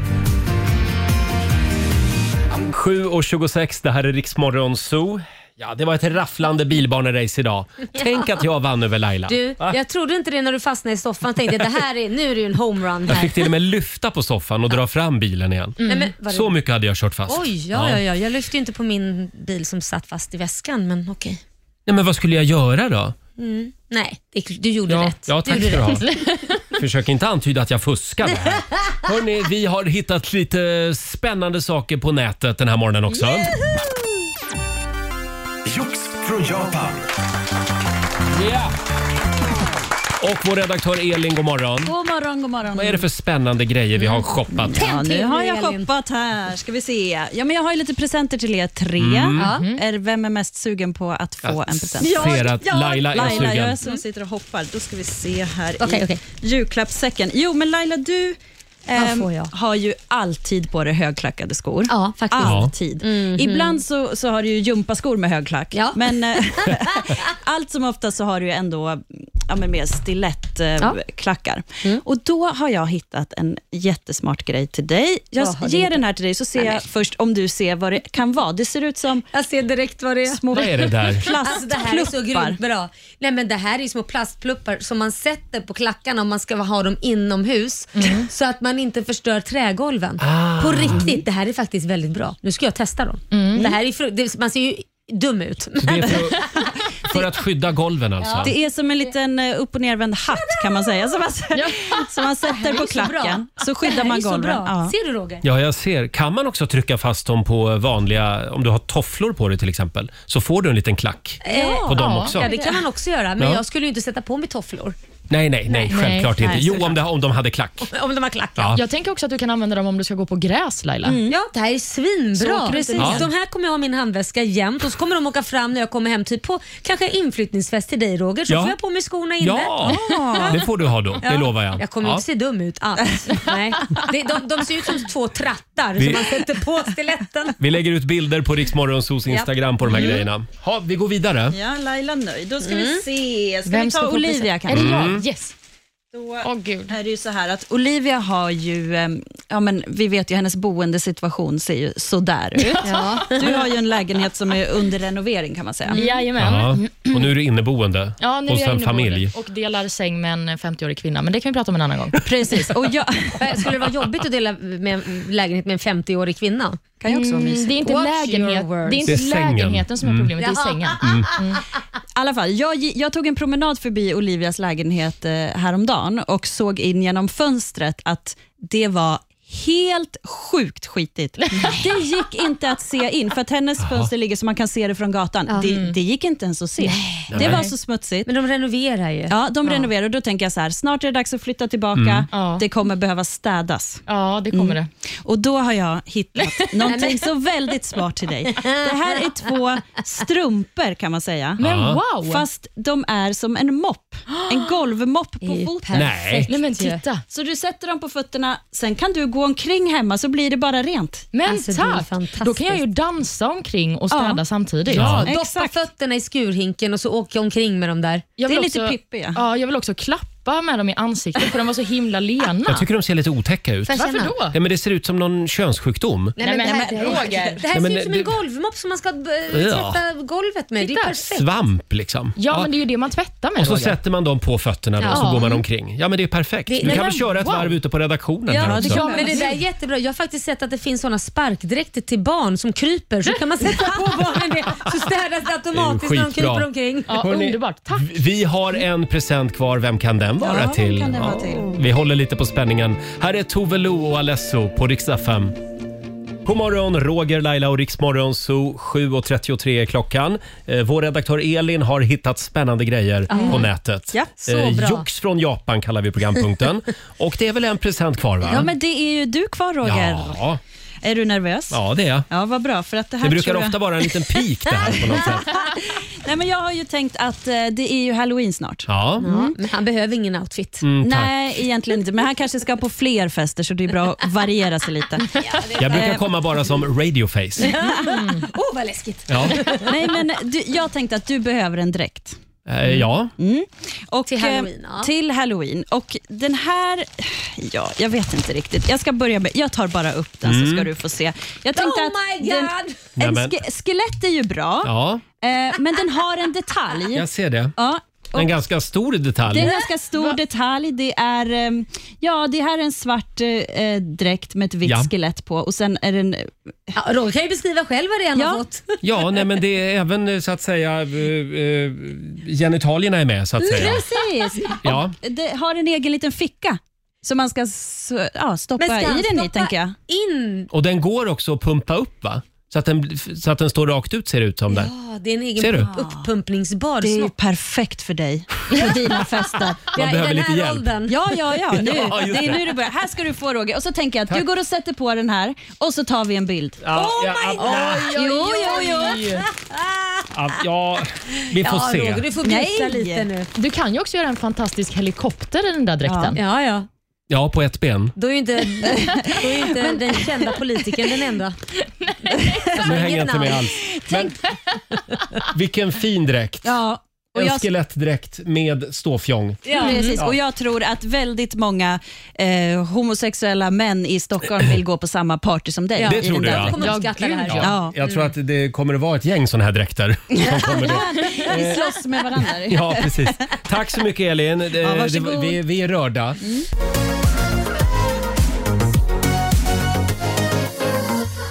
7.26, det här är Riksmorgon Zoo. Ja, det var ett rafflande bilbanerace idag. Tänk att jag vann över Laila. Du, Va? jag trodde inte det när du fastnade i soffan. Tänkte jag, det här är, nu är det ju en homerun Jag här. fick till och med lyfta på soffan och dra fram bilen igen. Nej, men, var det- Så mycket hade jag kört fast. Mm. Oj, ja, ja, ja. Jag lyfte ju inte på min bil som satt fast i väskan, men okej. Nej, men vad skulle jag göra då? Nej, det, du gjorde Ja, rätt. ja du tack gjorde ska du rätt. ha. Försök inte antyda att jag fuskade. här. Hörni, vi har hittat lite spännande saker på nätet den här morgonen också. Jox från Japan. Ja. Och vår redaktör Elin, god morgon. God morgon, god morgon. Mm. Vad är det för spännande grejer vi har shoppat? Ja, nu har jag Elin. shoppat här. Ska vi se. Ja, men jag har ju lite presenter till er tre. Ja. Är, vem är mest sugen på att få en present? Jag ser att Laila är Laila, jag är sugen. som sitter och hoppar. Då ska vi se här Okej, i okej. julklappssäcken. Jo, men Laila, du Vad ehm, får jag? har ju alltid på dig högklackade skor. Ja, faktiskt. Alltid. Ibland så, så har du ju gympaskor med högklack, Ja. men eh, allt som ofta så har du ju ändå ja, men mer Ja. Mm. stilettklackar. Och då har jag hittat en jättesmart grej till dig. Jag Vad har du ger hittat? den här till dig så ser jag först om du ser vad det kan vara. Det ser ut som Jag ser direkt vad det är. små Vad är det där? Alltså, det här är så plastpluppar. grymt bra. Nej, men det här är ju små plastpluppar som man sätter på klackarna om man ska ha dem inomhus så att man inte förstör trägolven. På riktigt, det här är faktiskt väldigt bra. Nu ska jag testa dem. Det här är, fru- det, man ser ju dum ut. Det är för, för att skydda golven alltså. Det är som en liten eh, upp och nervänd hatt kan man säga, som man, som man sätter på så bra. klacken. Så Det skyddar här är man så golven. bra. Ja. Ser du Roger? Ja, jag ser. Kan man också trycka fast dem på vanliga, om du har tofflor på dig till exempel, så får du en liten klack Ja. på dem Ja. också. Eh, Ja, det kan man också göra, men Ja. jag skulle ju inte sätta på mig tofflor Nej, nej, nej, självklart inte. nej, Jo, om, det, om de hade klack. om de har klack. Ja. Jag tänker också att du kan använda dem om du ska gå på gräs Laila. Ja, det här är svinbra. Så precis. Ja. Mm. De här kommer jag ha i min handväska jämt och så kommer de åka fram när jag kommer hem, typ på kanske en inflyttningsfest till dig Roger, så Ja. får jag på mig skorna inne. Ja, det får du ha då. Det lovar jag. Jag kommer ju ja. inte se dum ut alls. Nej. De, de, de ser ut som två trattar Vi- som man sätter på stiletten. Vi lägger ut bilder på Riksmorgonsos Instagram på de här grejerna. Ha, vi går vidare. Ja, Laila nöjd. Då ska vi se. Ska vi ska ta få Olivia present? kanske? Är det Mm. jag? Yes. Då Åh gud. är det ju så här att Olivia har ju, eh, ja men vi vet ju hennes boendesituation ser ju sådär ut. Du har ju en lägenhet som är under renovering kan man säga. Mm. Mm. Jajamän. Ja. Och nu är du inneboende Ja, nu är hos jag en inne på familj. bordet och delar säng med en 50-årig kvinna, men det kan vi prata om en annan gång. Precis, och jag Eh, Skulle det vara jobbigt att dela med en lägenhet med en 50-årig kvinna? kan ju också vara mysig. Det är inte, Watch your lägenhet, words. Ah, det är inte Det är sängen. Mm. lägenheten som är problemet, det är sängen. alla fall, jag, gi- jag tog en promenad förbi Olivias lägenhet eh, häromdagen och såg in genom fönstret att det var helt sjukt skitigt. Det gick inte att se in, för att hennes fönster ligger så man kan se det från gatan. Det, det gick inte ens att se. Det var så smutsigt. Men de renoverar ju. Ja, de renoverar och då tänker jag så här, snart är det dags att flytta tillbaka. Ja. Det kommer behöva städas. ah. Ja, det Mm. kommer det. Och då har jag hittat någonting så väldigt smart till dig. Det här är två strumpor kan man säga. Men Ja. wow! Fast de är som en mopp. En golvmopp Det är på ju foten. Nej. Nej men ju. titta. Så du sätter dem på fötterna, sen kan du gå omkring hemma så blir det bara rent. Men Alltså, det är tack! fantastiskt. Då kan jag ju dansa omkring och städa Ja. samtidigt. Ja. Doppa Exakt. fötterna i skurhinken och så åker jag omkring med dem där. Jag Det är vill lite Pippi, ja. jag vill också klappa med dem i ansiktet för de var så himla lena. Jag tycker de ser lite otäcka ut. Får jag Varför känna? då? Ja, men det ser ut som någon könssjukdom. Nej, men, Nej, det här, men Roger. Det här Nej, men ser ut som det- en golvmopp som man ska eh, Ja. tvätta golvet med. Det är Titta. perfekt. Svamp liksom. Ja, men det är ju det man tvättar med Och så Roger. sätter man dem på fötterna då, och så Ja. går man omkring. Ja men det är perfekt. Det- Du nej, kan väl men köra ett wow. varv ute på redaktionen Ja, här också. ja, men det där är jättebra. Jag har faktiskt sett att det finns såna sparkdräkter till barn som kryper. Så kan man sätta på barnen det så städas det automatiskt Det är ju när de skitbra. kryper omkring. Ja, Hörrni, underbart. Tack! Vi har en present kvar. Vem kan den vara Ja, vem till? kan den vara till? Vi håller lite på spänningen. Här är Tove Lo och Alesso på riksdag 5. God morgon, Roger, Laila och Riksmorgon Zoo. 7.33 är klockan. Eh, Vår redaktör Elin har hittat spännande grejer på nätet. Eh, Ja, så bra. Jox från Japan kallar vi programpunkten. och det är väl en present kvar va? Ja, men det är ju du kvar Roger. ja, Är du nervös? ja det är jag. Ja, vad bra. För att det här Det brukar tror jag... ofta vara en liten pik det här på något sätt. Nej, men jag har ju tänkt att eh, det är ju halloween snart. Ja, Mm. Ja, men han behöver ingen outfit. Mm, Nej, egentligen inte. Men han kanske ska på fler fester så det är bra att variera sig lite. jag brukar komma bara som radioface. Åh, vad Oh läskigt. Ja, Nej, men du, jag tänkte att du behöver en dräkt. Eh, ja. Mm. Och, Till eh, Halloween, ja. Till Halloween. Och den här, ja, jag vet inte riktigt. Jag ska börja med, jag tar bara upp den Mm. så ska du få se. Jag tänkte Oh att my den, God! Nej, en men- ske, skelett är ju bra, ja. eh, men den har en detalj. Jag ser det. Ja, En och ganska stor det är detalj. en ganska stor detalj. Det är, ehm, ja, det här är en svart eh, eh, dräkt med ett vitt Ja. skelett på och sen är den... Ja, Roger kan ju beskriva själv vad det är han har Ja. fått. Ja, nej, men det är även eh, så att säga eh, eh, genitalierna är med så att säga. Precis! Ja. Det har en egen liten ficka som man ska s- ja, stoppa Men ska han i den i, stoppa tänker jag. In! Och den går också att pumpa upp va? Så att den, så att den står rakt ut ser det ut som där. Ja, det är en egen Ser du? upp- uppumpningsbar Det är ju snopp. perfekt för dig och dina fester. Ja, i behöver den lite här hjälp. åldern. Ja, ja, ja. Nu, Ja, just det är det. nu det börjar. Här ska du få Roger. Och så tänker jag att du går och sätter på den här och så tar vi en bild. Ja, ja, ja, Jo, jo, jo. ja, ja, vi får Ja, se. Roger, du får bjussa Nej. lite nu. Du kan ju också göra en fantastisk helikopter i den där dräkten. Ja, ja. Ja, på ett ben. Då är ju inte, då är ju inte den kända politikern den enda. Nu hänger jag inte med alls. Men, vilken fin dräkt. Ja. Och En jag, skelettdräkt med ståfjong. Ja. precis. och jag tror att väldigt många eh, homosexuella män i Stockholm vill gå på samma party som dig. Ja. Det i tror den du, där ja. Jag dräkten. kommer uppskatta det här. Ja, Ja. Mm. Jag tror att det kommer att vara ett gäng sådana här dräkter. Som kommer då. Vi slåss med varandra. Ja, precis. Tack så mycket Elin. Det, varsågod. Mm. det, vi, vi är rörda.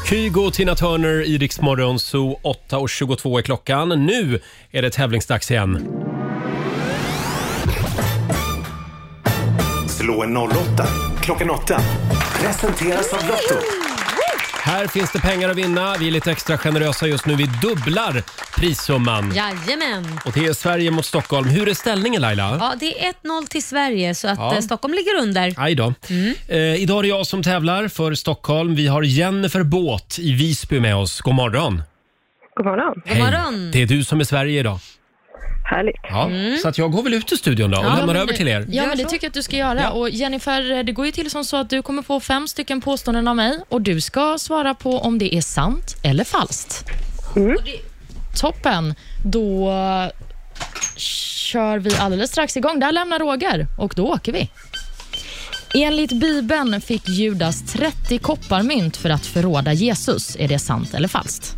Kygo, Tina Turner, Iriks morgonzoo. 8.22 är klockan. Nu är det tävlingsdags igen. Slå en 08 klockan 8. Presenteras av Lotto. Här finns det pengar att vinna. Vi är lite extra generösa just nu. Vi dubblar prissumman. Jajamän. Och det är Sverige mot Stockholm. Hur är ställningen Laila? Ja, det är 1-0 till Sverige så att Ja. eh, Stockholm ligger under. Aj då. Mm. Eh, idag är det jag som tävlar för Stockholm. Vi har Jennifer Båt i Visby med oss. God morgon. God morgon. Hej. morgon. Det är du som är Sverige idag. Härligt. Ja. Så att jag går väl ut ur studion då och lämnar över till er. Ja, Mm. men det tycker jag att du ska göra. Och Jennifer, eh, det går ju till som så att du kommer få fem stycken påståenden av mig och du ska svara på om det är sant eller falskt. Toppen. Då eh, kör vi alldeles strax igång. Där lämnar Roger och då åker vi. Enligt Bibeln fick Judas 30 kopparmynt för att förråda Jesus. Är det sant eller falskt?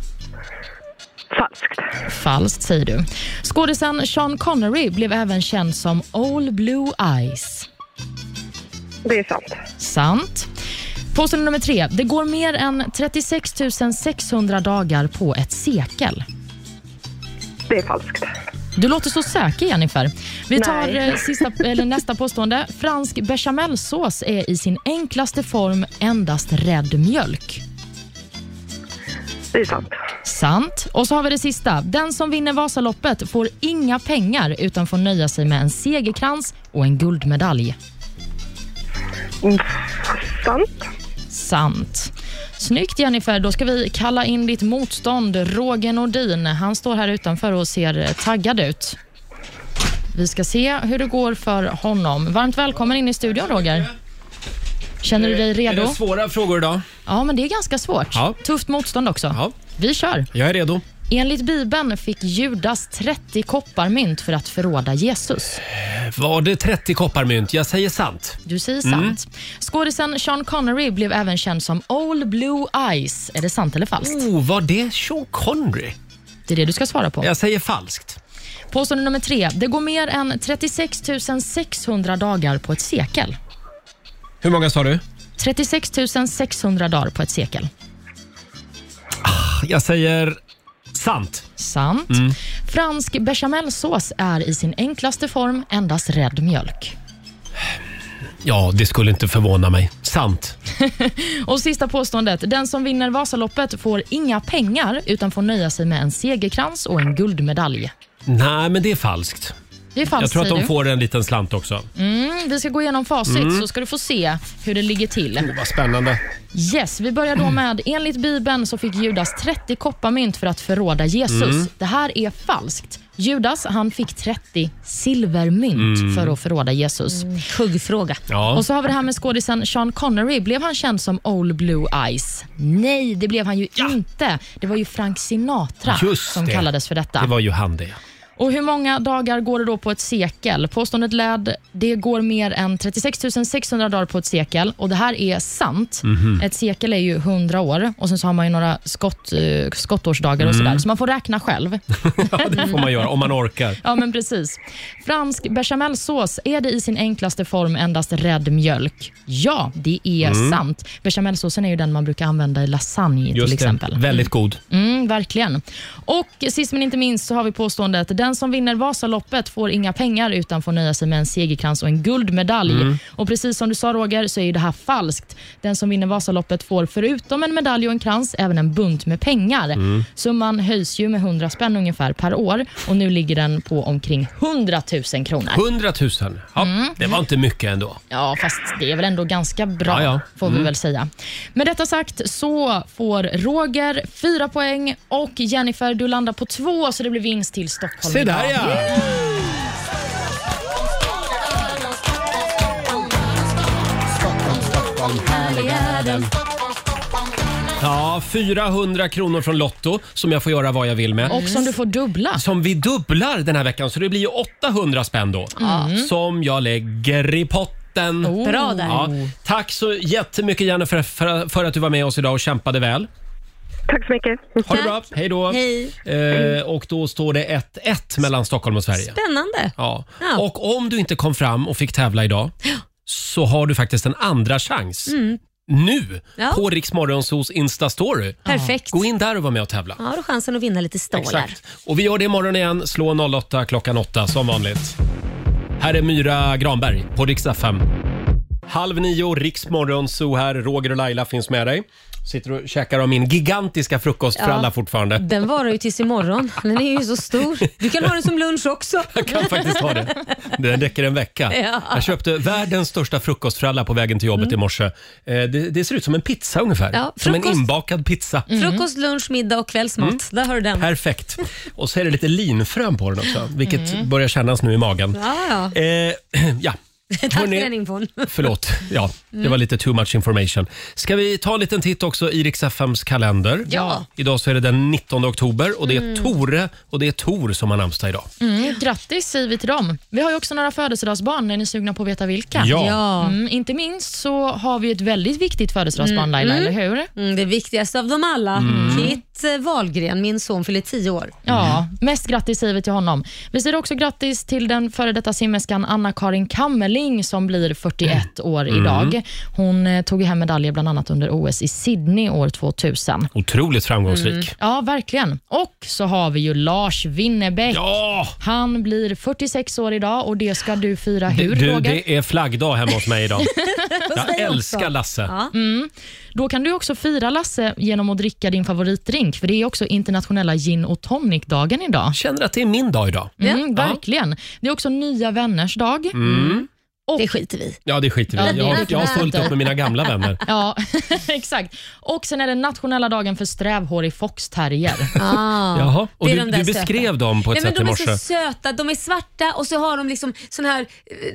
Falskt. Falskt säger du. Skådisen Sean Connery blev även känd som Old Blue Eyes. Det är sant. Sant. Påstående nummer tre. Det går mer än 36 600 dagar på ett sekel. Det är falskt. Du låter så säker, Jennifer. Vi tar Nej. eh, sista, eller nästa påstående. Fransk bechamelsås är i sin enklaste form endast rädd mjölk. Det är sant. Sant. Och så har vi det sista. Den som vinner Vasaloppet får inga pengar utan får nöja sig med en segerkrans och en guldmedalj. Sant. Sant. Snyggt Jennifer, då ska vi kalla in ditt motstånd Roger Nordin. Han står här utanför och ser eh, taggad ut. Vi ska se hur det går för honom. Varmt välkommen in i studion Roger. Känner du dig redo? Är det svåra frågor idag? Ja, men det är ganska svårt. Ja. Tufft motstånd också. Vi kör. Jag är redo. Enligt Bibeln fick Judas 30 kopparmynt för att förråda Jesus. Var det 30 kopparmynt? Jag säger sant. Du säger sant. Mm. Skådisen Sean Connery blev även känd som Old Blue Eyes. Är det sant eller falskt? Oh, var det Sean Connery? Det är det du ska svara på. Jag säger falskt. Påstående nummer tre. Det går mer än 36 600 dagar på ett sekel. Hur många sa du? 36 600 dagar på ett sekel. Jag säger sant. Sant. Mm. Fransk bechamelsås är i sin enklaste form endast rädd mjölk. Ja, det skulle inte förvåna mig. Sant. Och sista påståendet. Den som vinner Vasaloppet får inga pengar utan får nöja sig med en segerkrans och en guldmedalj. Nej, men det är falskt. Det är falskt, jag tror att säger de du. får en liten slant också. Mm, vi ska gå igenom facit Mm. så ska du få se hur det ligger till. Vad spännande. Yes, vi börjar då med enligt Bibeln så fick Judas 30 kopparmynt för att förråda Jesus. Mm. Det här är falskt. Judas han fick 30 silvermynt Mm. för att förråda Jesus. Mm. Kuggfråga. Ja. Och så har vi det här med skådisen Sean Connery. Blev han känd som Old Blue Eyes? Nej, det blev han ju inte. Det var ju Frank Sinatra Just som det. kallades för detta. Det var ju han det. Och Hur många dagar går det då på ett sekel? Påståendet led det går mer än 36 600 dagar på ett sekel och det här är sant. Mhm. Ett sekel är ju 100 år och sen så har man ju några skott, eh, skottårsdagar och sådär, Mm. så man får räkna själv. Ja, det får man göra om man orkar. Ja, men precis. Fransk bechamelsås, är det i sin enklaste form endast rädd mjölk? Ja, det är Mm. sant. Bechamelsåsen är ju den man brukar använda i lasagne till Just exempel. det. Väldigt god. Mm, verkligen. Och sist men inte minst så har vi påståendet den som vinner Vasaloppet får inga pengar utan får nöja sig med en segerkrans och en guldmedalj. Mm. Och precis som du sa Roger så är ju det här falskt. Den som vinner Vasaloppet får förutom en medalj och en krans även en bunt med pengar. Mm. Summan höjs ju med 100 spänn ungefär per år och nu ligger den på omkring 100 000 kronor. 100 000. Ja, Det var inte mycket ändå. Ja, fast det är väl ändå ganska Ja, bra, ja. får vi Mm. väl säga. Med detta sagt så får Roger fyra poäng och Jennifer, du landar på två, så det blir vinst till Stockholm Se idag. där ja! Ja, 400 kronor från Lotto som jag får göra vad jag vill med. Och som du får dubbla. Som vi dubblar den här veckan så det blir ju 800 spänn då. Mm. Som jag lägger i potten. Oh. Bra där. Ja, tack så jättemycket Janne för, för, för att du var med oss idag och kämpade väl. Tack så mycket. Ha det bra. Hej då. Hej. Eh, och då står det 1-1 mellan Stockholm och Sverige. Spännande. Ja. Ja. Och om du inte kom fram och fick tävla idag så har du faktiskt en andra chans. Mm. Nu Ja. på Rix Morgonzoos Insta-story. Perfekt. Gå in där och var med och tävla. Ja, då har du chansen att vinna lite stålar. Exakt. Och vi gör det imorgon igen. Slå 08 klockan 8 som vanligt. Här är Myra Granberg på Rix FM. Halv nio, Rix Morgonzoo här. Roger och Laila finns med dig. Sitter och käkar av min gigantiska frukost för Ja. alla fortfarande. Den varar ju tills imorgon. Den är ju så stor. Du kan ha den som lunch också. Jag kan faktiskt ha det. Den räcker en vecka. Ja. Jag köpte världens största frukostfralla på vägen till jobbet Mm. i morse. Eh, Det, det ser ut som en pizza ungefär. Ja, som en frukost. Mm. inbakad pizza. Frukost, lunch, middag och kvällsmat. Mm. Där har du den. Perfekt. Och så är det lite linfrön på den också, vilket Mm. börjar kännas nu i magen. Ja, ja. Eh, ja. Tack för den infon. Förlåt, ja, det var Mm. lite too much information. Ska vi ta en liten titt också i Rix FMs kalender? Ja. Idag så är det den 19 oktober och det är Mm. Tore och det är Tor som har namnsdag idag. Mm, grattis säger vi till dem. Vi har ju också några födelsedagsbarn. Är ni sugna på att veta vilka? Ja. Ja. Mm, inte minst så har vi ett väldigt viktigt födelsedagsbarn, Laila, eller hur? Mm, det viktigaste av dem alla. Mm. Kit eh, Wahlgren, min son, fyller 10 år. Ja, Mm. mest grattis säger vi till honom. Vi säger också grattis till den före detta simmerskan Anna-Karin Kammerling Ling som blir 41 år Mm. idag. Hon eh, tog ju hem medaljer bland annat under OS i Sydney år 2000. Otroligt framgångsrik. Mm. Ja, verkligen. Och så har vi ju Lars Winnerbäck. Ja! Han blir 46 år idag och det ska du fira Du, hur, du, Roger? det är flaggdag hemma hos mig idag. Hos Jag dig också. älskar Lasse. Mm. Då kan du också fira Lasse genom att dricka din favoritdrink, för det är också internationella gin och tonic-dagen idag. Känner att det är min dag idag. Mm, verkligen. Det är också nya vänners dag. Mm. Och, det skiter vi i. Ja, det skiter vi Ja, i. det Jag, har- vet jag har jag fullt inte. upp med mina gamla vänner. Ja, exakt. Och sen är det nationella dagen för strävhårig foxterrier. Ah. Jaha, och Det är du, de där du beskrev dem på Nej, ett sätt men i de morse. är så söta, de är svarta och så har de liksom sån här,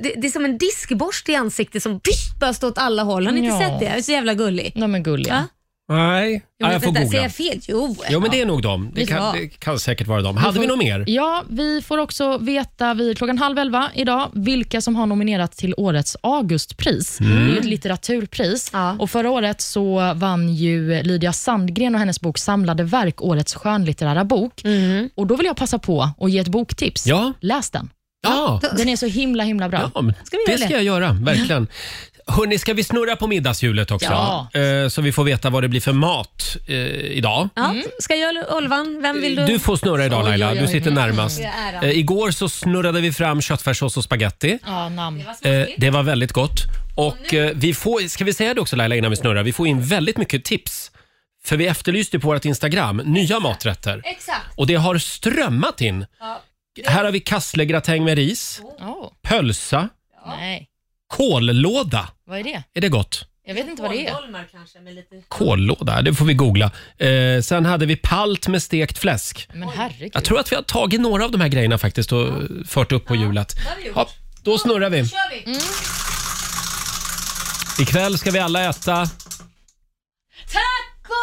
det, det är som en diskborste i ansiktet som psh, bara står åt alla håll. Har ni inte Ja. sett det? Det är så jävla gullig. De är gulliga. Ja. Nej, Jo, men ja, jag får vänta, Säger googla. jag fel? Jo. Jo, men det är nog dem. Det Vi får kan, ha. det kan säkert vara dem. Hade vi något mer? Ja, vi får också veta vid klockan halv elva idag vilka som har nominerats till årets Augustpris. Mm. Det är ju ett litteraturpris. Och Förra året så vann ju Lydia Sandgren och hennes bok Samlade verk årets skönlitterära bok. Och Då vill jag passa på att ge ett boktips. Mm. Ja. Läs den. Ja, Den är så himla himla bra. ja men vi det göra ska det? jag göra. Verkligen. Hörni, ska vi snurra på middagshjulet också? Ja. Eh, Så vi får veta vad det blir för mat eh, idag. Ja. Ska jag eller Olvan? Vem vill du? Du får snurra idag Oj, Laila, oj, oj. du sitter närmast. Jag är äran. Eh, igår så snurrade vi fram köttfärssås och spaghetti. Ja, namn. Eh, det var väldigt gott. Och eh, vi får, ska vi säga det också Laila innan vi snurrar, vi får in väldigt mycket tips. För vi efterlyste på vårt Instagram nya maträtter. Exakt. Och det har strömmat in. Ja. Här har vi kasslegratäng med ris, Oh, pölsa, nej. kållåda. Vad är det? Är det gott? Jag vet inte vad det är. kanske med lite... Kållåda, det får vi googla. Eh, sen hade vi palt med stekt fläsk. Men herregud. Jag tror att vi har tagit några av de här grejerna faktiskt och fört upp på hjulet. Ja, då snurrar vi. kör vi. Ikväll ska vi alla äta... Taco!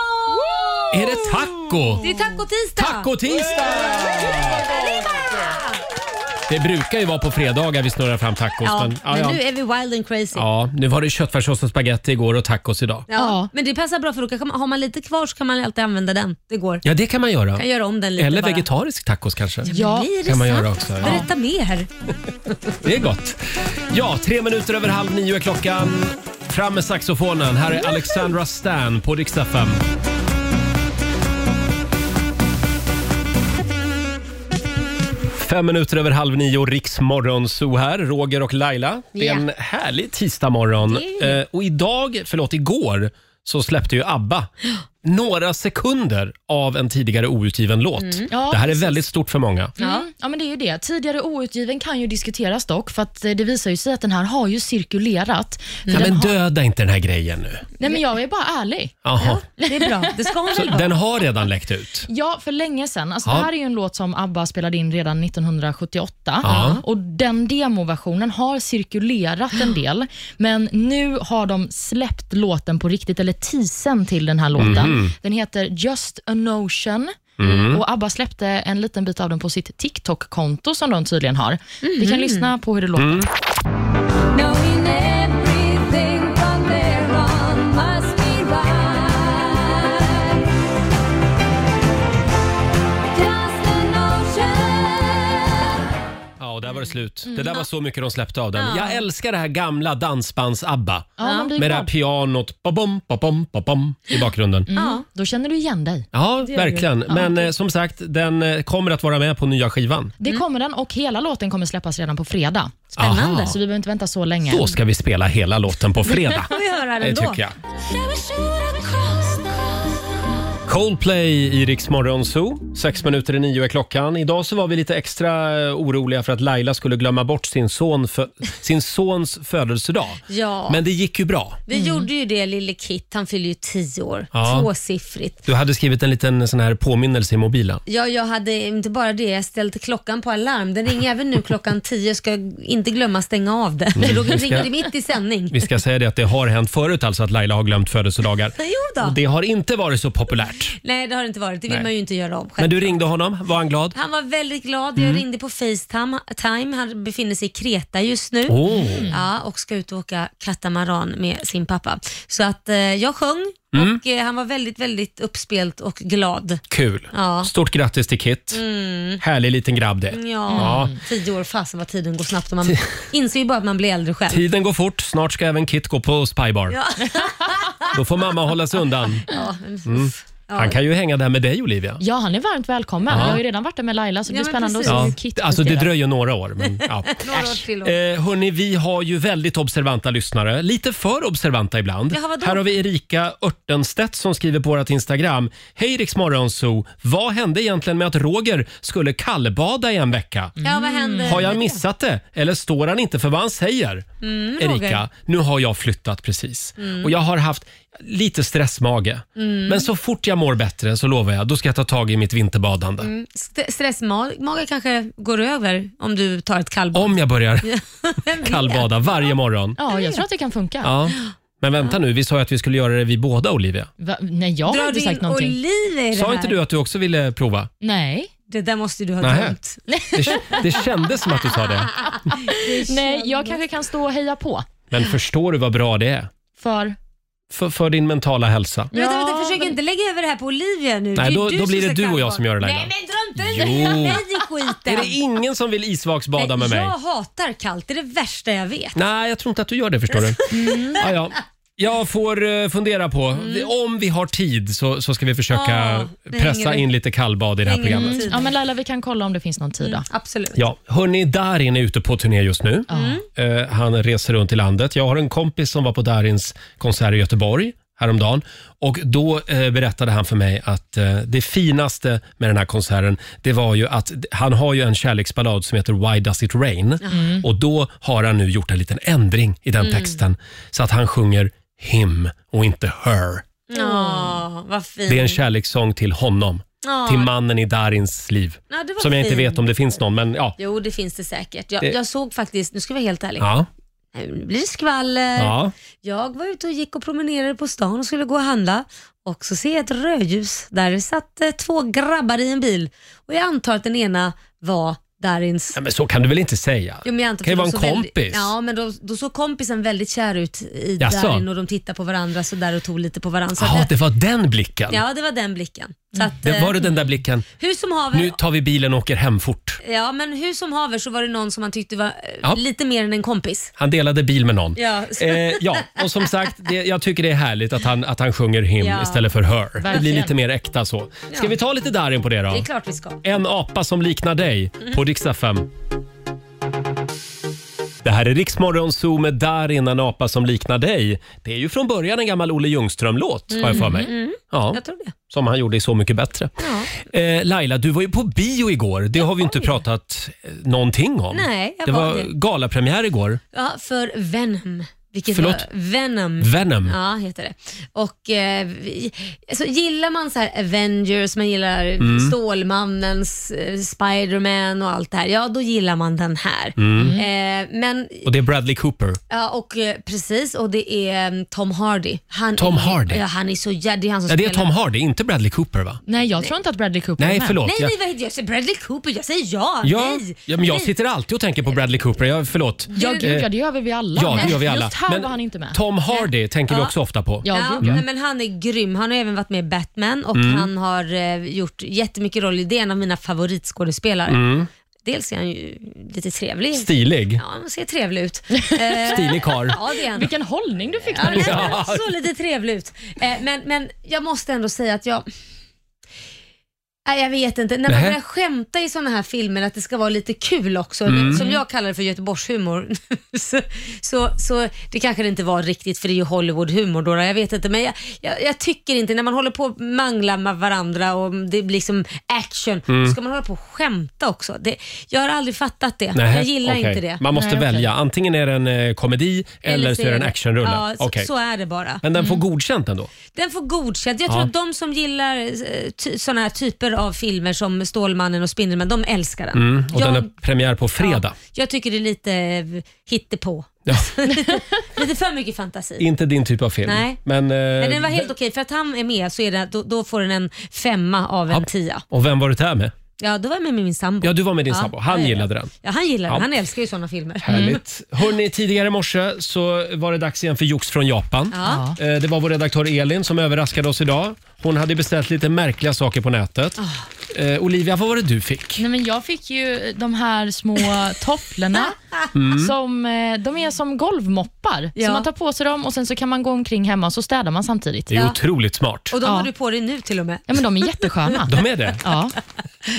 Är det taco? Det är tacotisdag. Tacotisdag! Det brukar ju vara på fredagar vi snurrar fram tacos. Ja, men, ja, men ja. nu är vi wild and crazy. ja, nu var det köttfärssås och spagetti igår och tacos idag. Ja, Men det passar bra för då kan man, har man lite kvar så kan man alltid använda den. Det går. Ja, det kan man göra. Kan göra om den lite Eller bara. vegetarisk tacos kanske. Ja, blir det kan man sant? göra också. Ja. Berätta mer. Det är gott. Ja, tre minuter över halv nio är klockan. Fram med saxofonen. Här är Alexandra Stan på Rix FM. Fem minuter över halv nio, Riksmorgon så här, Roger och Laila. Det är en härlig tisdagmorgon. Eh, och idag, förlåt, igår så släppte ju ABBA några sekunder av en tidigare outgiven låt. Mm. Ja, det här är precis. väldigt stort för många. Mm. Ja, men det är ju det. Tidigare outgiven kan ju diskuteras dock, för att eh, det visar ju sig att den här har ju cirkulerat. För Ja, den men har... döda inte den här grejen nu. Nej, men jag är bara ärlig. Jaha. Det är bra. Det ska hon Så väl vara? den har redan läckt ut? Ja, för länge sedan. Alltså, Ja. Det här är ju en låt som ABBA spelade in redan 1978 Ja. och den demoversionen har cirkulerat en del, men nu har de släppt låten på riktigt, eller teasern till den här Mhm. låten. Den heter Just a Notion. Mm. Och ABBA släppte en liten bit av den på sitt TikTok-konto som de tydligen har. Vi kan lyssna på hur det låter. Mm. Knowing everything from there on must be right. Just an ocean. Ja, och där var det slut. Det Mm. där var så mycket de släppte av den. Jag älskar det här gamla dansbands-ABBA. Ja, man blir Med det här glad. pianot ba-bom, ba-bom, ba-bom, i bakgrunden. Mm. Då känner du igen dig. Ja, gör det. verkligen. Ja, Men eh, som sagt, den eh, kommer att vara med på nya skivan. Det kommer den och hela låten kommer släppas redan på fredag. Spännande. Aha. Så vi behöver inte vänta så länge. Då ska vi spela hela låten på fredag. Får vi höra Det den då? tycker jag. Never should have crossed Coldplay i Rix Morgon Zoo. Sex minuter i nio är klockan. Idag så var vi lite extra eh, oroliga för att Laila skulle glömma bort sin, son fö- sin sons födelsedag. Ja. Men det gick ju bra. Vi gjorde ju det lille Kit, han fyller ju tio år. Ja. Tvåsiffrigt. Du hade skrivit en liten sån här påminnelse i mobilen. Ja, jag hade inte bara det, jag ställde klockan på alarm. Den ringer även nu klockan tio, ska jag inte glömma stänga av den. Mm, För då vi ska- ringer det mitt i sändning. Vi ska säga det att det har hänt förut alltså att Laila har glömt födelsedagar. Jo då. Och det har inte varit så populärt. varit. Nej, det har det inte varit. Det vill Nej. man ju inte göra om. Men själv. du ringde honom, var han glad? Han var väldigt glad. Jag Mm. ringde på Facetime. Time. Han befinner sig i Kreta just nu Åh. ja, och ska ut och åka katamaran med sin pappa. Så att eh, jag sjöng Mm. och eh, han var väldigt, väldigt uppspelt och glad. Kul. Ja. Stort grattis till Kit. Mm. Härlig liten grabb det. Ja, tio år. Fasen vad tiden går snabbt och man inser ju bara att man blir äldre själv. Tiden går fort, snart ska även Kit gå på spybar. Ja. Då får mamma hålla sig undan. ja. men- Mm. Han kan ju hänga där med dig Olivia. Ja, han är varmt välkommen. Ja. Jag har ju redan varit där med Laila, så det Ja, blir men spännande att se Ja. hur Kit Alltså det presterar. dröjer några år. Men, ja. Några år till år. Eh, hörni, vi har ju väldigt observanta lyssnare. Lite för observanta ibland. Jaha, vadå? Här har vi Erika Örtenstedt som skriver på vårt Instagram. Hej Rix Morgonzoo! Vad hände egentligen med att Roger skulle kallbada i en vecka? Ja, vad händer? Har jag missat det eller står han inte för vad han säger? Mm, Roger. Erika, nu har jag flyttat precis Mm. och jag har haft lite stressmage. Mm. Men så fort jag mår bättre så lovar jag, då ska jag ta tag i mitt vinterbadande. Mm. St- Stressmage kanske går över om du tar ett kallbad. Om jag börjar Vem vet? kallbada varje morgon. Ja, jag tror att det kan funka. Ja. Men vänta nu, vi sa ju att vi skulle göra det vi båda Olivia. Va? Nej, jag har Drar inte du sagt in någonting. Olivia i det Sa här? inte du att du också ville prova? Nej. Det där måste du ha Nähä. glömt. Det, det kändes som att du sa det. Nej, jag kanske kan stå och heja på. Men förstår du vad bra det är? För... För, för din mentala hälsa. Men vänta, vänta, försök inte lägga över det här på Olivia nu. Nej, är då- du då som blir ska det du och kallbada. jag som gör det, Laila. Nej, men dra inte Jo. in mig i skiten. Är det ingen som vill isvaksbada med Nej, mig? Jag hatar kallt, det är det värsta jag vet. Nej, jag tror inte att du gör det förstår du. Ja, ja. Jag får eh, fundera på, om vi har tid så, så ska vi försöka Mm. Ja, det pressa hänger- in lite kallbad i det här programmet. Mm. Ja, men Laila, vi kan kolla om det finns någon tid då. Absolut. Ja, hörni, Darin är ute på turné just nu. Mm. Eh, han reser runt i landet. Jag har en kompis som var på Darins konsert i Göteborg häromdagen och då eh, berättade han för mig att eh, det finaste med den här konserten, det var ju att d- han har ju en kärleksballad som heter Why Does It Rain Mm. och då har han nu gjort en liten ändring i den Mm. texten så att han sjunger him och inte her. Ja, vad fint. Det är en kärlekssång till honom, Mm. Ja. till mannen i Darins liv. Ja, det var som jag inte fint. vet om det finns någon, men ja. Jo, det finns det säkert. Jag, Det- jag såg faktiskt, nu ska jag vara helt ärlig. ja. Nej, Nu blir det skvaller. Ja. Jag var ute och gick och promenerade på stan och skulle gå och handla. Och så ser jag ett rödljus. Där satt eh, två grabbar i en bil. Och jag antar att den ena var Darins... Nej, men så kan du väl inte säga? Jo, men jag antar kan ju för vara en de såg kompis. Väldigt, ja, men då, då såg kompisen väldigt kär ut i Jaså? Darin och de tittade på varandra så där och tog lite på varandra. Så Ja, att- Ah, det var den blicken. ja, det var den blicken. Så att, Det eh, var det den där blicken. Hur som haver, Nu tar vi bilen och åker hem fort. ja, men hur som haver så var det någon som man tyckte var eh, Ja. lite mer än en kompis. Han delade bil med någon. Ja. Eh, ja, och som sagt, det, jag tycker det är härligt att han, att han sjunger him Ja. istället för her. Det blir Verkligen. lite mer äkta så. Ska Ja. vi ta lite Darin på det då? Det är klart Mhm. vi ska. En apa som liknar dig på Rix FM. Det här är Riksmorgon Zoo med Darin, en apa som liknar dig. Det är ju från början en gammal Olle Ljungström-låt har jag för mig. Mm, mm. Ja. Jag tror det. Som han gjorde i Så mycket bättre. Eh, Laila, du var ju på bio igår. Det har vi inte pratat eh, någonting om. Nej, jag det var var det. galapremiär igår. Ja, för Venom. Vilket Förlåt? var- Venom. Venom. Ja, heter det. Och eh, vi, alltså, gillar man så här Avengers, man gillar Mm. Stålmannens, eh, Spiderman och allt det här, ja då gillar man den här. Mm. Eh, men Och det är Bradley Cooper. Ja, och eh, precis. Och det är mm, Tom Hardy. Han Tom är, Hardy? Ja, han är så jävla... Det är han som Ja, det är spelar- Tom Hardy, inte Bradley Cooper va? Nej, jag tror inte att Bradley Cooper Nej, är med. förlåt. Nej, jag- nej, vad heter jag? Jag säger Bradley Cooper. Jag säger ja. Ja, Nej. ja men jag Nej. sitter alltid och tänker på Bradley Cooper. Jag, förlåt. Ja, gud, ja, Eh, det gör väl vi alla. ja, det gör vi alla. Just här Men var han inte med. Tom Hardy tänker vi Ja. också ofta på. Ja, Mm. nej, men han är grym. Han har även varit med i Batman och Mm. han har eh, gjort jättemycket roll i det. En av mina favoritskådespelare. Mm. Dels är han ju lite trevlig. Stilig. Ja, han ser trevlig ut. Eh, Stilig karl. Ja, det är han. Vilken hållning du fick Ja, när du nej, sa men han såg lite trevlig ut. Eh, men, men jag måste ändå säga att jag... Nej, jag vet inte. När man Nähä. börjar skämta i sådana här filmer att det ska vara lite kul också, Mm. som jag kallar det för Göteborgshumor, så, så, så det kanske det inte var riktigt för det är ju Hollywoodhumor då, jag vet inte. Men jag, jag, jag tycker inte, när man håller på och manglar med varandra och det blir liksom action, Mm. så ska man hålla på och skämta också. Det, jag har aldrig fattat det. Nähä, jag gillar okej. inte det. Man måste välja. Antingen är det en eh, komedi eller, så är det en actionrulle. Ja, så, Okej. så är det bara. Men den får Mm. godkänt ändå? Den får godkänt. Jag Ja. tror att de som gillar sådana eh, här typer av filmer som Stålmannen och Spindelmannen, de älskar den. Mm, och jag, den har premiär på fredag. jag tycker det är lite eh, hittepå. Ja. lite, lite för mycket fantasi. Inte din typ av film. Nej. Men, eh, Men den var helt okej, för att han är med så är det, då, då får den en femma av en tia. Och vem var du där med? Ja, då var jag med min sambo. Ja, du var med din Ja, sambo. Han ja, Mm. ja. gillade den. Ja, han gillar den. Ja. Han älskar ju sådana filmer. Härligt. Hörrni, tidigare i morse så var det dags igen för jox från Japan. Ja. Eh, Det var vår redaktör Elin som överraskade oss idag. Hon hade beställt lite märkliga saker på nätet. Ah. Eh, Olivia, vad var det du fick? Nej, men jag fick ju de här små tofflorna. Mm. Som, eh, de är som golvmoppar. Ja. Så man tar på sig dem och sen så kan man gå omkring hemma och så städar man samtidigt. Det är otroligt smart. Och de har du på dig nu till och med. Ja, men de är jättesköna. De är det? Ja.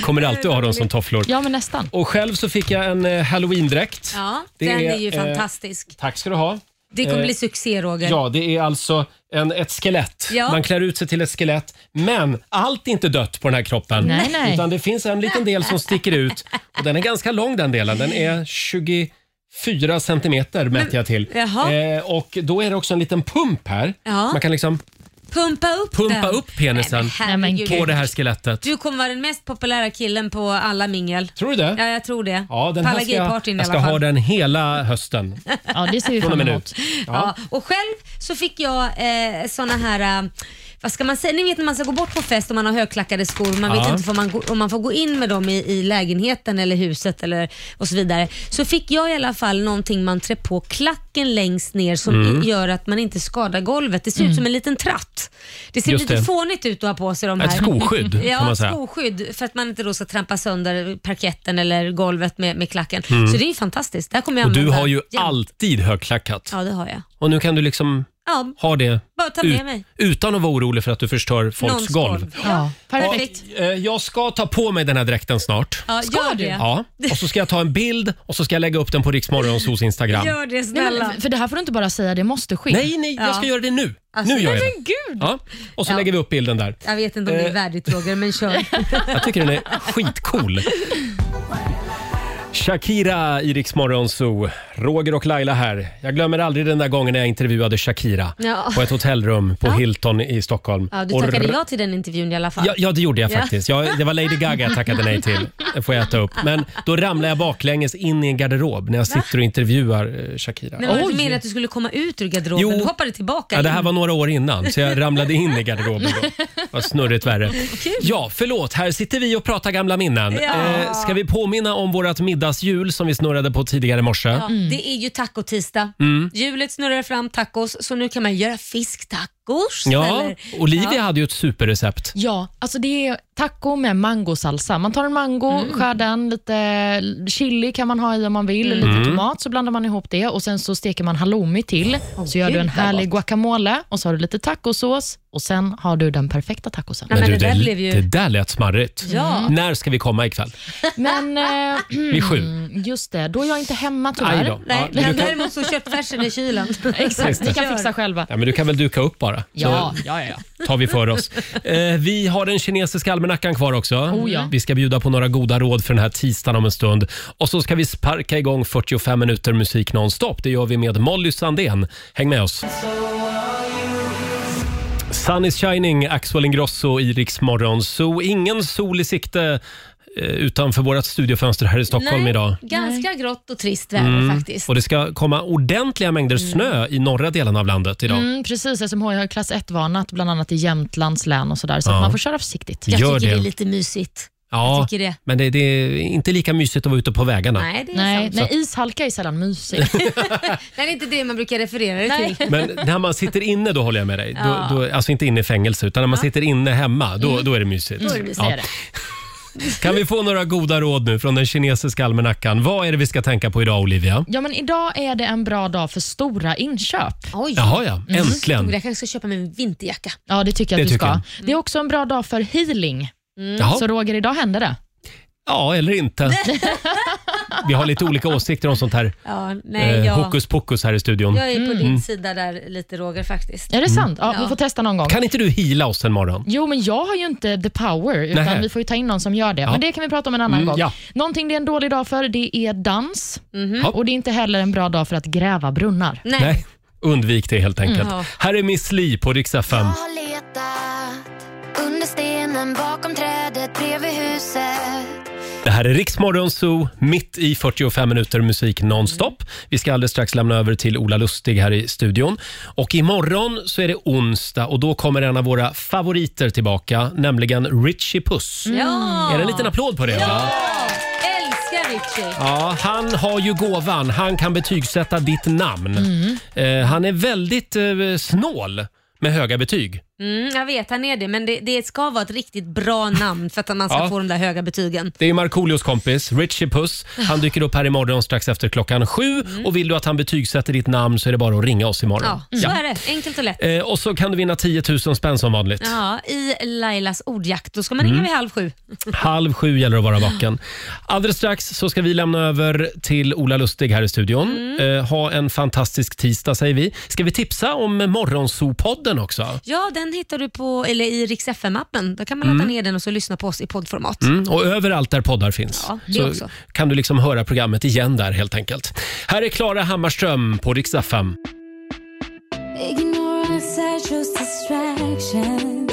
Kommer alltid ha dem som tofflor. Ja, men nästan. Och själv så fick jag en eh, halloween-dräkt. Ja, Det den är, är, ju eh, fantastisk. Tack ska du ha. Det kommer eh, bli succé Roger. Ja, det är alltså en, ett skelett. Ja. Man klär ut sig till ett skelett, men allt är inte dött på den här kroppen. Nej, nej. Utan det finns en liten del som sticker ut och den är ganska lång den delen. Den är 24 centimeter mätte jag till. Jaha. Eh, och då är det också en liten pump här. Ja. Man kan liksom Pumpa upp den. pumpa upp penisen Nej, men herregud. på det här skelettet. Du kommer vara den mest populära killen på alla mingel. Tror du det? Ja, jag tror det. Ja, den på här alla ska jag, gaypartyn i jag ska alla fall. ha den hela hösten. Ja, det ser vi Från och fram med emot. nu. Ja. Och själv så fick jag eh, såna här eh, vad ska man säga? Ni vet när man ska gå bort på fest och man har högklackade skor och man Ja. vet inte om man, gå- om man får gå in med dem i, i lägenheten eller huset eller, och så vidare. Så fick jag i alla fall någonting man trär på klacken längst ner som Mm. i- gör att man inte skadar golvet. Det ser ut Mm. som en liten tratt. Det ser Just lite det. fånigt ut att ha på sig de här. Ett skoskydd, ja, kan man säga. ett skoskydd för att man inte då ska trampa sönder parketten eller golvet med, med klacken. Mm. Så det är ju fantastiskt. Det här kommer jag Och du använda har ju jämt. alltid högklackat. Ja, det har jag. Och nu kan du liksom Ja, ha det Bara ta med ut- mig. utan att vara orolig för att du förstör folks Någons golv. Ja, perfekt. Eh, Jag ska ta på mig den här dräkten snart. Ja, gör det. Ja, och så ska jag ta en bild och så ska jag lägga upp den på Riksmorgonsos Instagram. Gör det snälla. Nej, men, för det här får du inte bara säga, det måste ske. Nej, nej, jag ska göra det nu. Alltså, nu gör jag men det. gud. Ja, och så Ja. lägger vi upp bilden där. Jag vet inte om det är Eh. värdigt Roger, men kör. Jag tycker den är skitcool. Shakira i Rix Morgon Zoo. Roger och Laila här. Jag glömmer aldrig den där gången när jag intervjuade Shakira Ja. på ett hotellrum på Hilton i Stockholm. Ja, du Och tackade r- ja till den intervjun i alla fall. Ja, ja, det gjorde jag faktiskt. Jag, det var Lady Gaga jag tackade nej till. Det får jag äta upp. Men då ramlade jag baklänges in i en garderob när jag sitter och intervjuar eh, Shakira. Men var det inte meningen att du skulle komma ut ur garderoben? Jo. Du hoppade tillbaka Ja, det här in. var några år innan, så jag ramlade in i garderoben då. Det var snurrigt värre. Ja, förlåt. Här sitter vi och pratar gamla minnen. Ja. Eh, ska vi påminna om vårt middagshjul som vi snurrade på tidigare i morse? Ja, Det är ju tacotisdag. Mm. Hjulet snurrar fram tacos, så nu kan man göra fisktacos. Ja, eller- Olivia Ja. hade ju ett superrecept. Ja, alltså det är taco med mangosalsa. Man tar en mango, Mm. skär den, lite chili kan man ha i om man vill, Mm. lite Mm. tomat, så blandar man ihop det och sen så steker man halloumi till. så gör gud, du en vad härlig guacamole och så har du lite tacosås och sen har du den perfekta tacosen. Men, du, det, där det där lät smarrigt. Ja. Mm. När ska vi komma ikväll? Men, eh, Vid sju. Just det, då är jag inte hemma Aj tyvärr. då. Nej, Ja, men du kan- Däremot så köttfärsen i kylen. Exakt, ni kan Kör. fixa själva. Ja, men du kan väl duka upp bara? Ja, Så ja, ja. tar vi för oss. Eh, vi har den kinesiska almanackan kvar också. Oh, ja. Vi ska bjuda på några goda råd för den här tisdagen om en stund. Och så ska vi sparka igång 45 minuter musik nonstop. Det gör vi med Molly Sandén. Häng med oss. Sun is shining, Axel Ingrosso i Rix Morgon Zoo. Ingen sol i sikte eh, utanför vårt studiofönster här i Stockholm Nej, idag. Ganska grått och trist väder Mm. faktiskt. Och det ska komma ordentliga mängder snö i norra delen av landet idag. Mm, precis, SMHI har klass 1-varnat bland annat i Jämtlands län och sådär, så Ja. att man får köra försiktigt. Jag Gör tycker det. det är lite mysigt. Ja, Jag tycker det. men det, det är inte lika mysigt att vara ute på vägarna. Nej, det är Nej, sant. nej, ishalka är sällan mysigt. Nej, det är inte det man brukar referera det Nej. till. Men när man sitter inne, då håller jag med dig. Ja. Då, då, alltså inte inne i fängelse, utan när man sitter inne hemma, då, då är det mysigt. Mm. Då är det mysigt. Ja. Kan vi få några goda råd nu från den kinesiska almanackan? Vad är det vi ska tänka på idag, Olivia? Ja, men idag är det en bra dag för stora inköp. Oj. Jaha, ja. Mm. Äntligen. Jag kanske ska köpa mig en vinterjacka. Ja, det tycker jag att Det du tycker ska. Det är också en bra dag för healing. Jaha. Mm. Så Roger, idag händer det. Ja, eller inte. Vi har lite olika åsikter om sånt här Ja, nej, jag, eh, hokus pokus här i studion. jag är på din Mm. sida där lite Roger faktiskt. Är det sant? Ja, Vi får testa någon gång. Kan inte du hila oss en morgon? Jo, men jag har ju inte the power, utan Nähä. vi får ju ta in någon som gör det. Ja. Men det kan vi prata om en annan Mm, gång. ja. Någonting det är en dålig dag för, det är dans. Ja. Och det är inte heller en bra dag för att gräva brunnar. Nej. Undvik det helt enkelt. Mm. Ja. Här är Miss Li på Rix FM. har letat under stenen bakom trädet bredvid huset Det här är Riksmorgon Zoo, mitt i 45 minuter musik nonstop. Vi ska alldeles strax lämna över till Ola Lustig här i studion. Och imorgon så är det onsdag och då kommer en av våra favoriter tillbaka, nämligen Richie Puss. Mm. Ja. Är det en liten applåd på det? Ja! Älskar Richie. Ja, han har ju gåvan. Han kan betygsätta ditt namn. Mm. Eh, han är väldigt eh, snål med höga betyg. Mm, jag vet, han är det. Men det, det ska vara ett riktigt bra namn för att man ska Ja. få de där höga betygen. Det är Markoolios kompis, Richie Puss. Han dyker upp här imorgon strax efter klockan sju. Mm. Och vill du att han betygsätter ditt namn så är det bara att ringa oss imorgon. Ja, så är det. Enkelt och lätt. Eh, och så kan du vinna 10 000 spänn som vanligt. Ja, I Lailas ordjakt. Då ska man ringa Mm. vid halv sju. Halv sju gäller det att vara vaken. Alldeles strax så ska vi lämna över till Ola Lustig här i studion. Mm. Eh, ha en fantastisk tisdag säger vi. Ska vi tipsa om Morgonzoo-podden också? Ja, den hittar du på, eller i Rix FM-appen. Där kan man ladda Mm. ner den och så lyssna på oss i poddformat. Mm, och överallt där poddar finns. Ja, det så också. kan du liksom höra programmet igen där helt enkelt. Här är Klara Hammarström på Rix FM. Ignorance, I chose distractions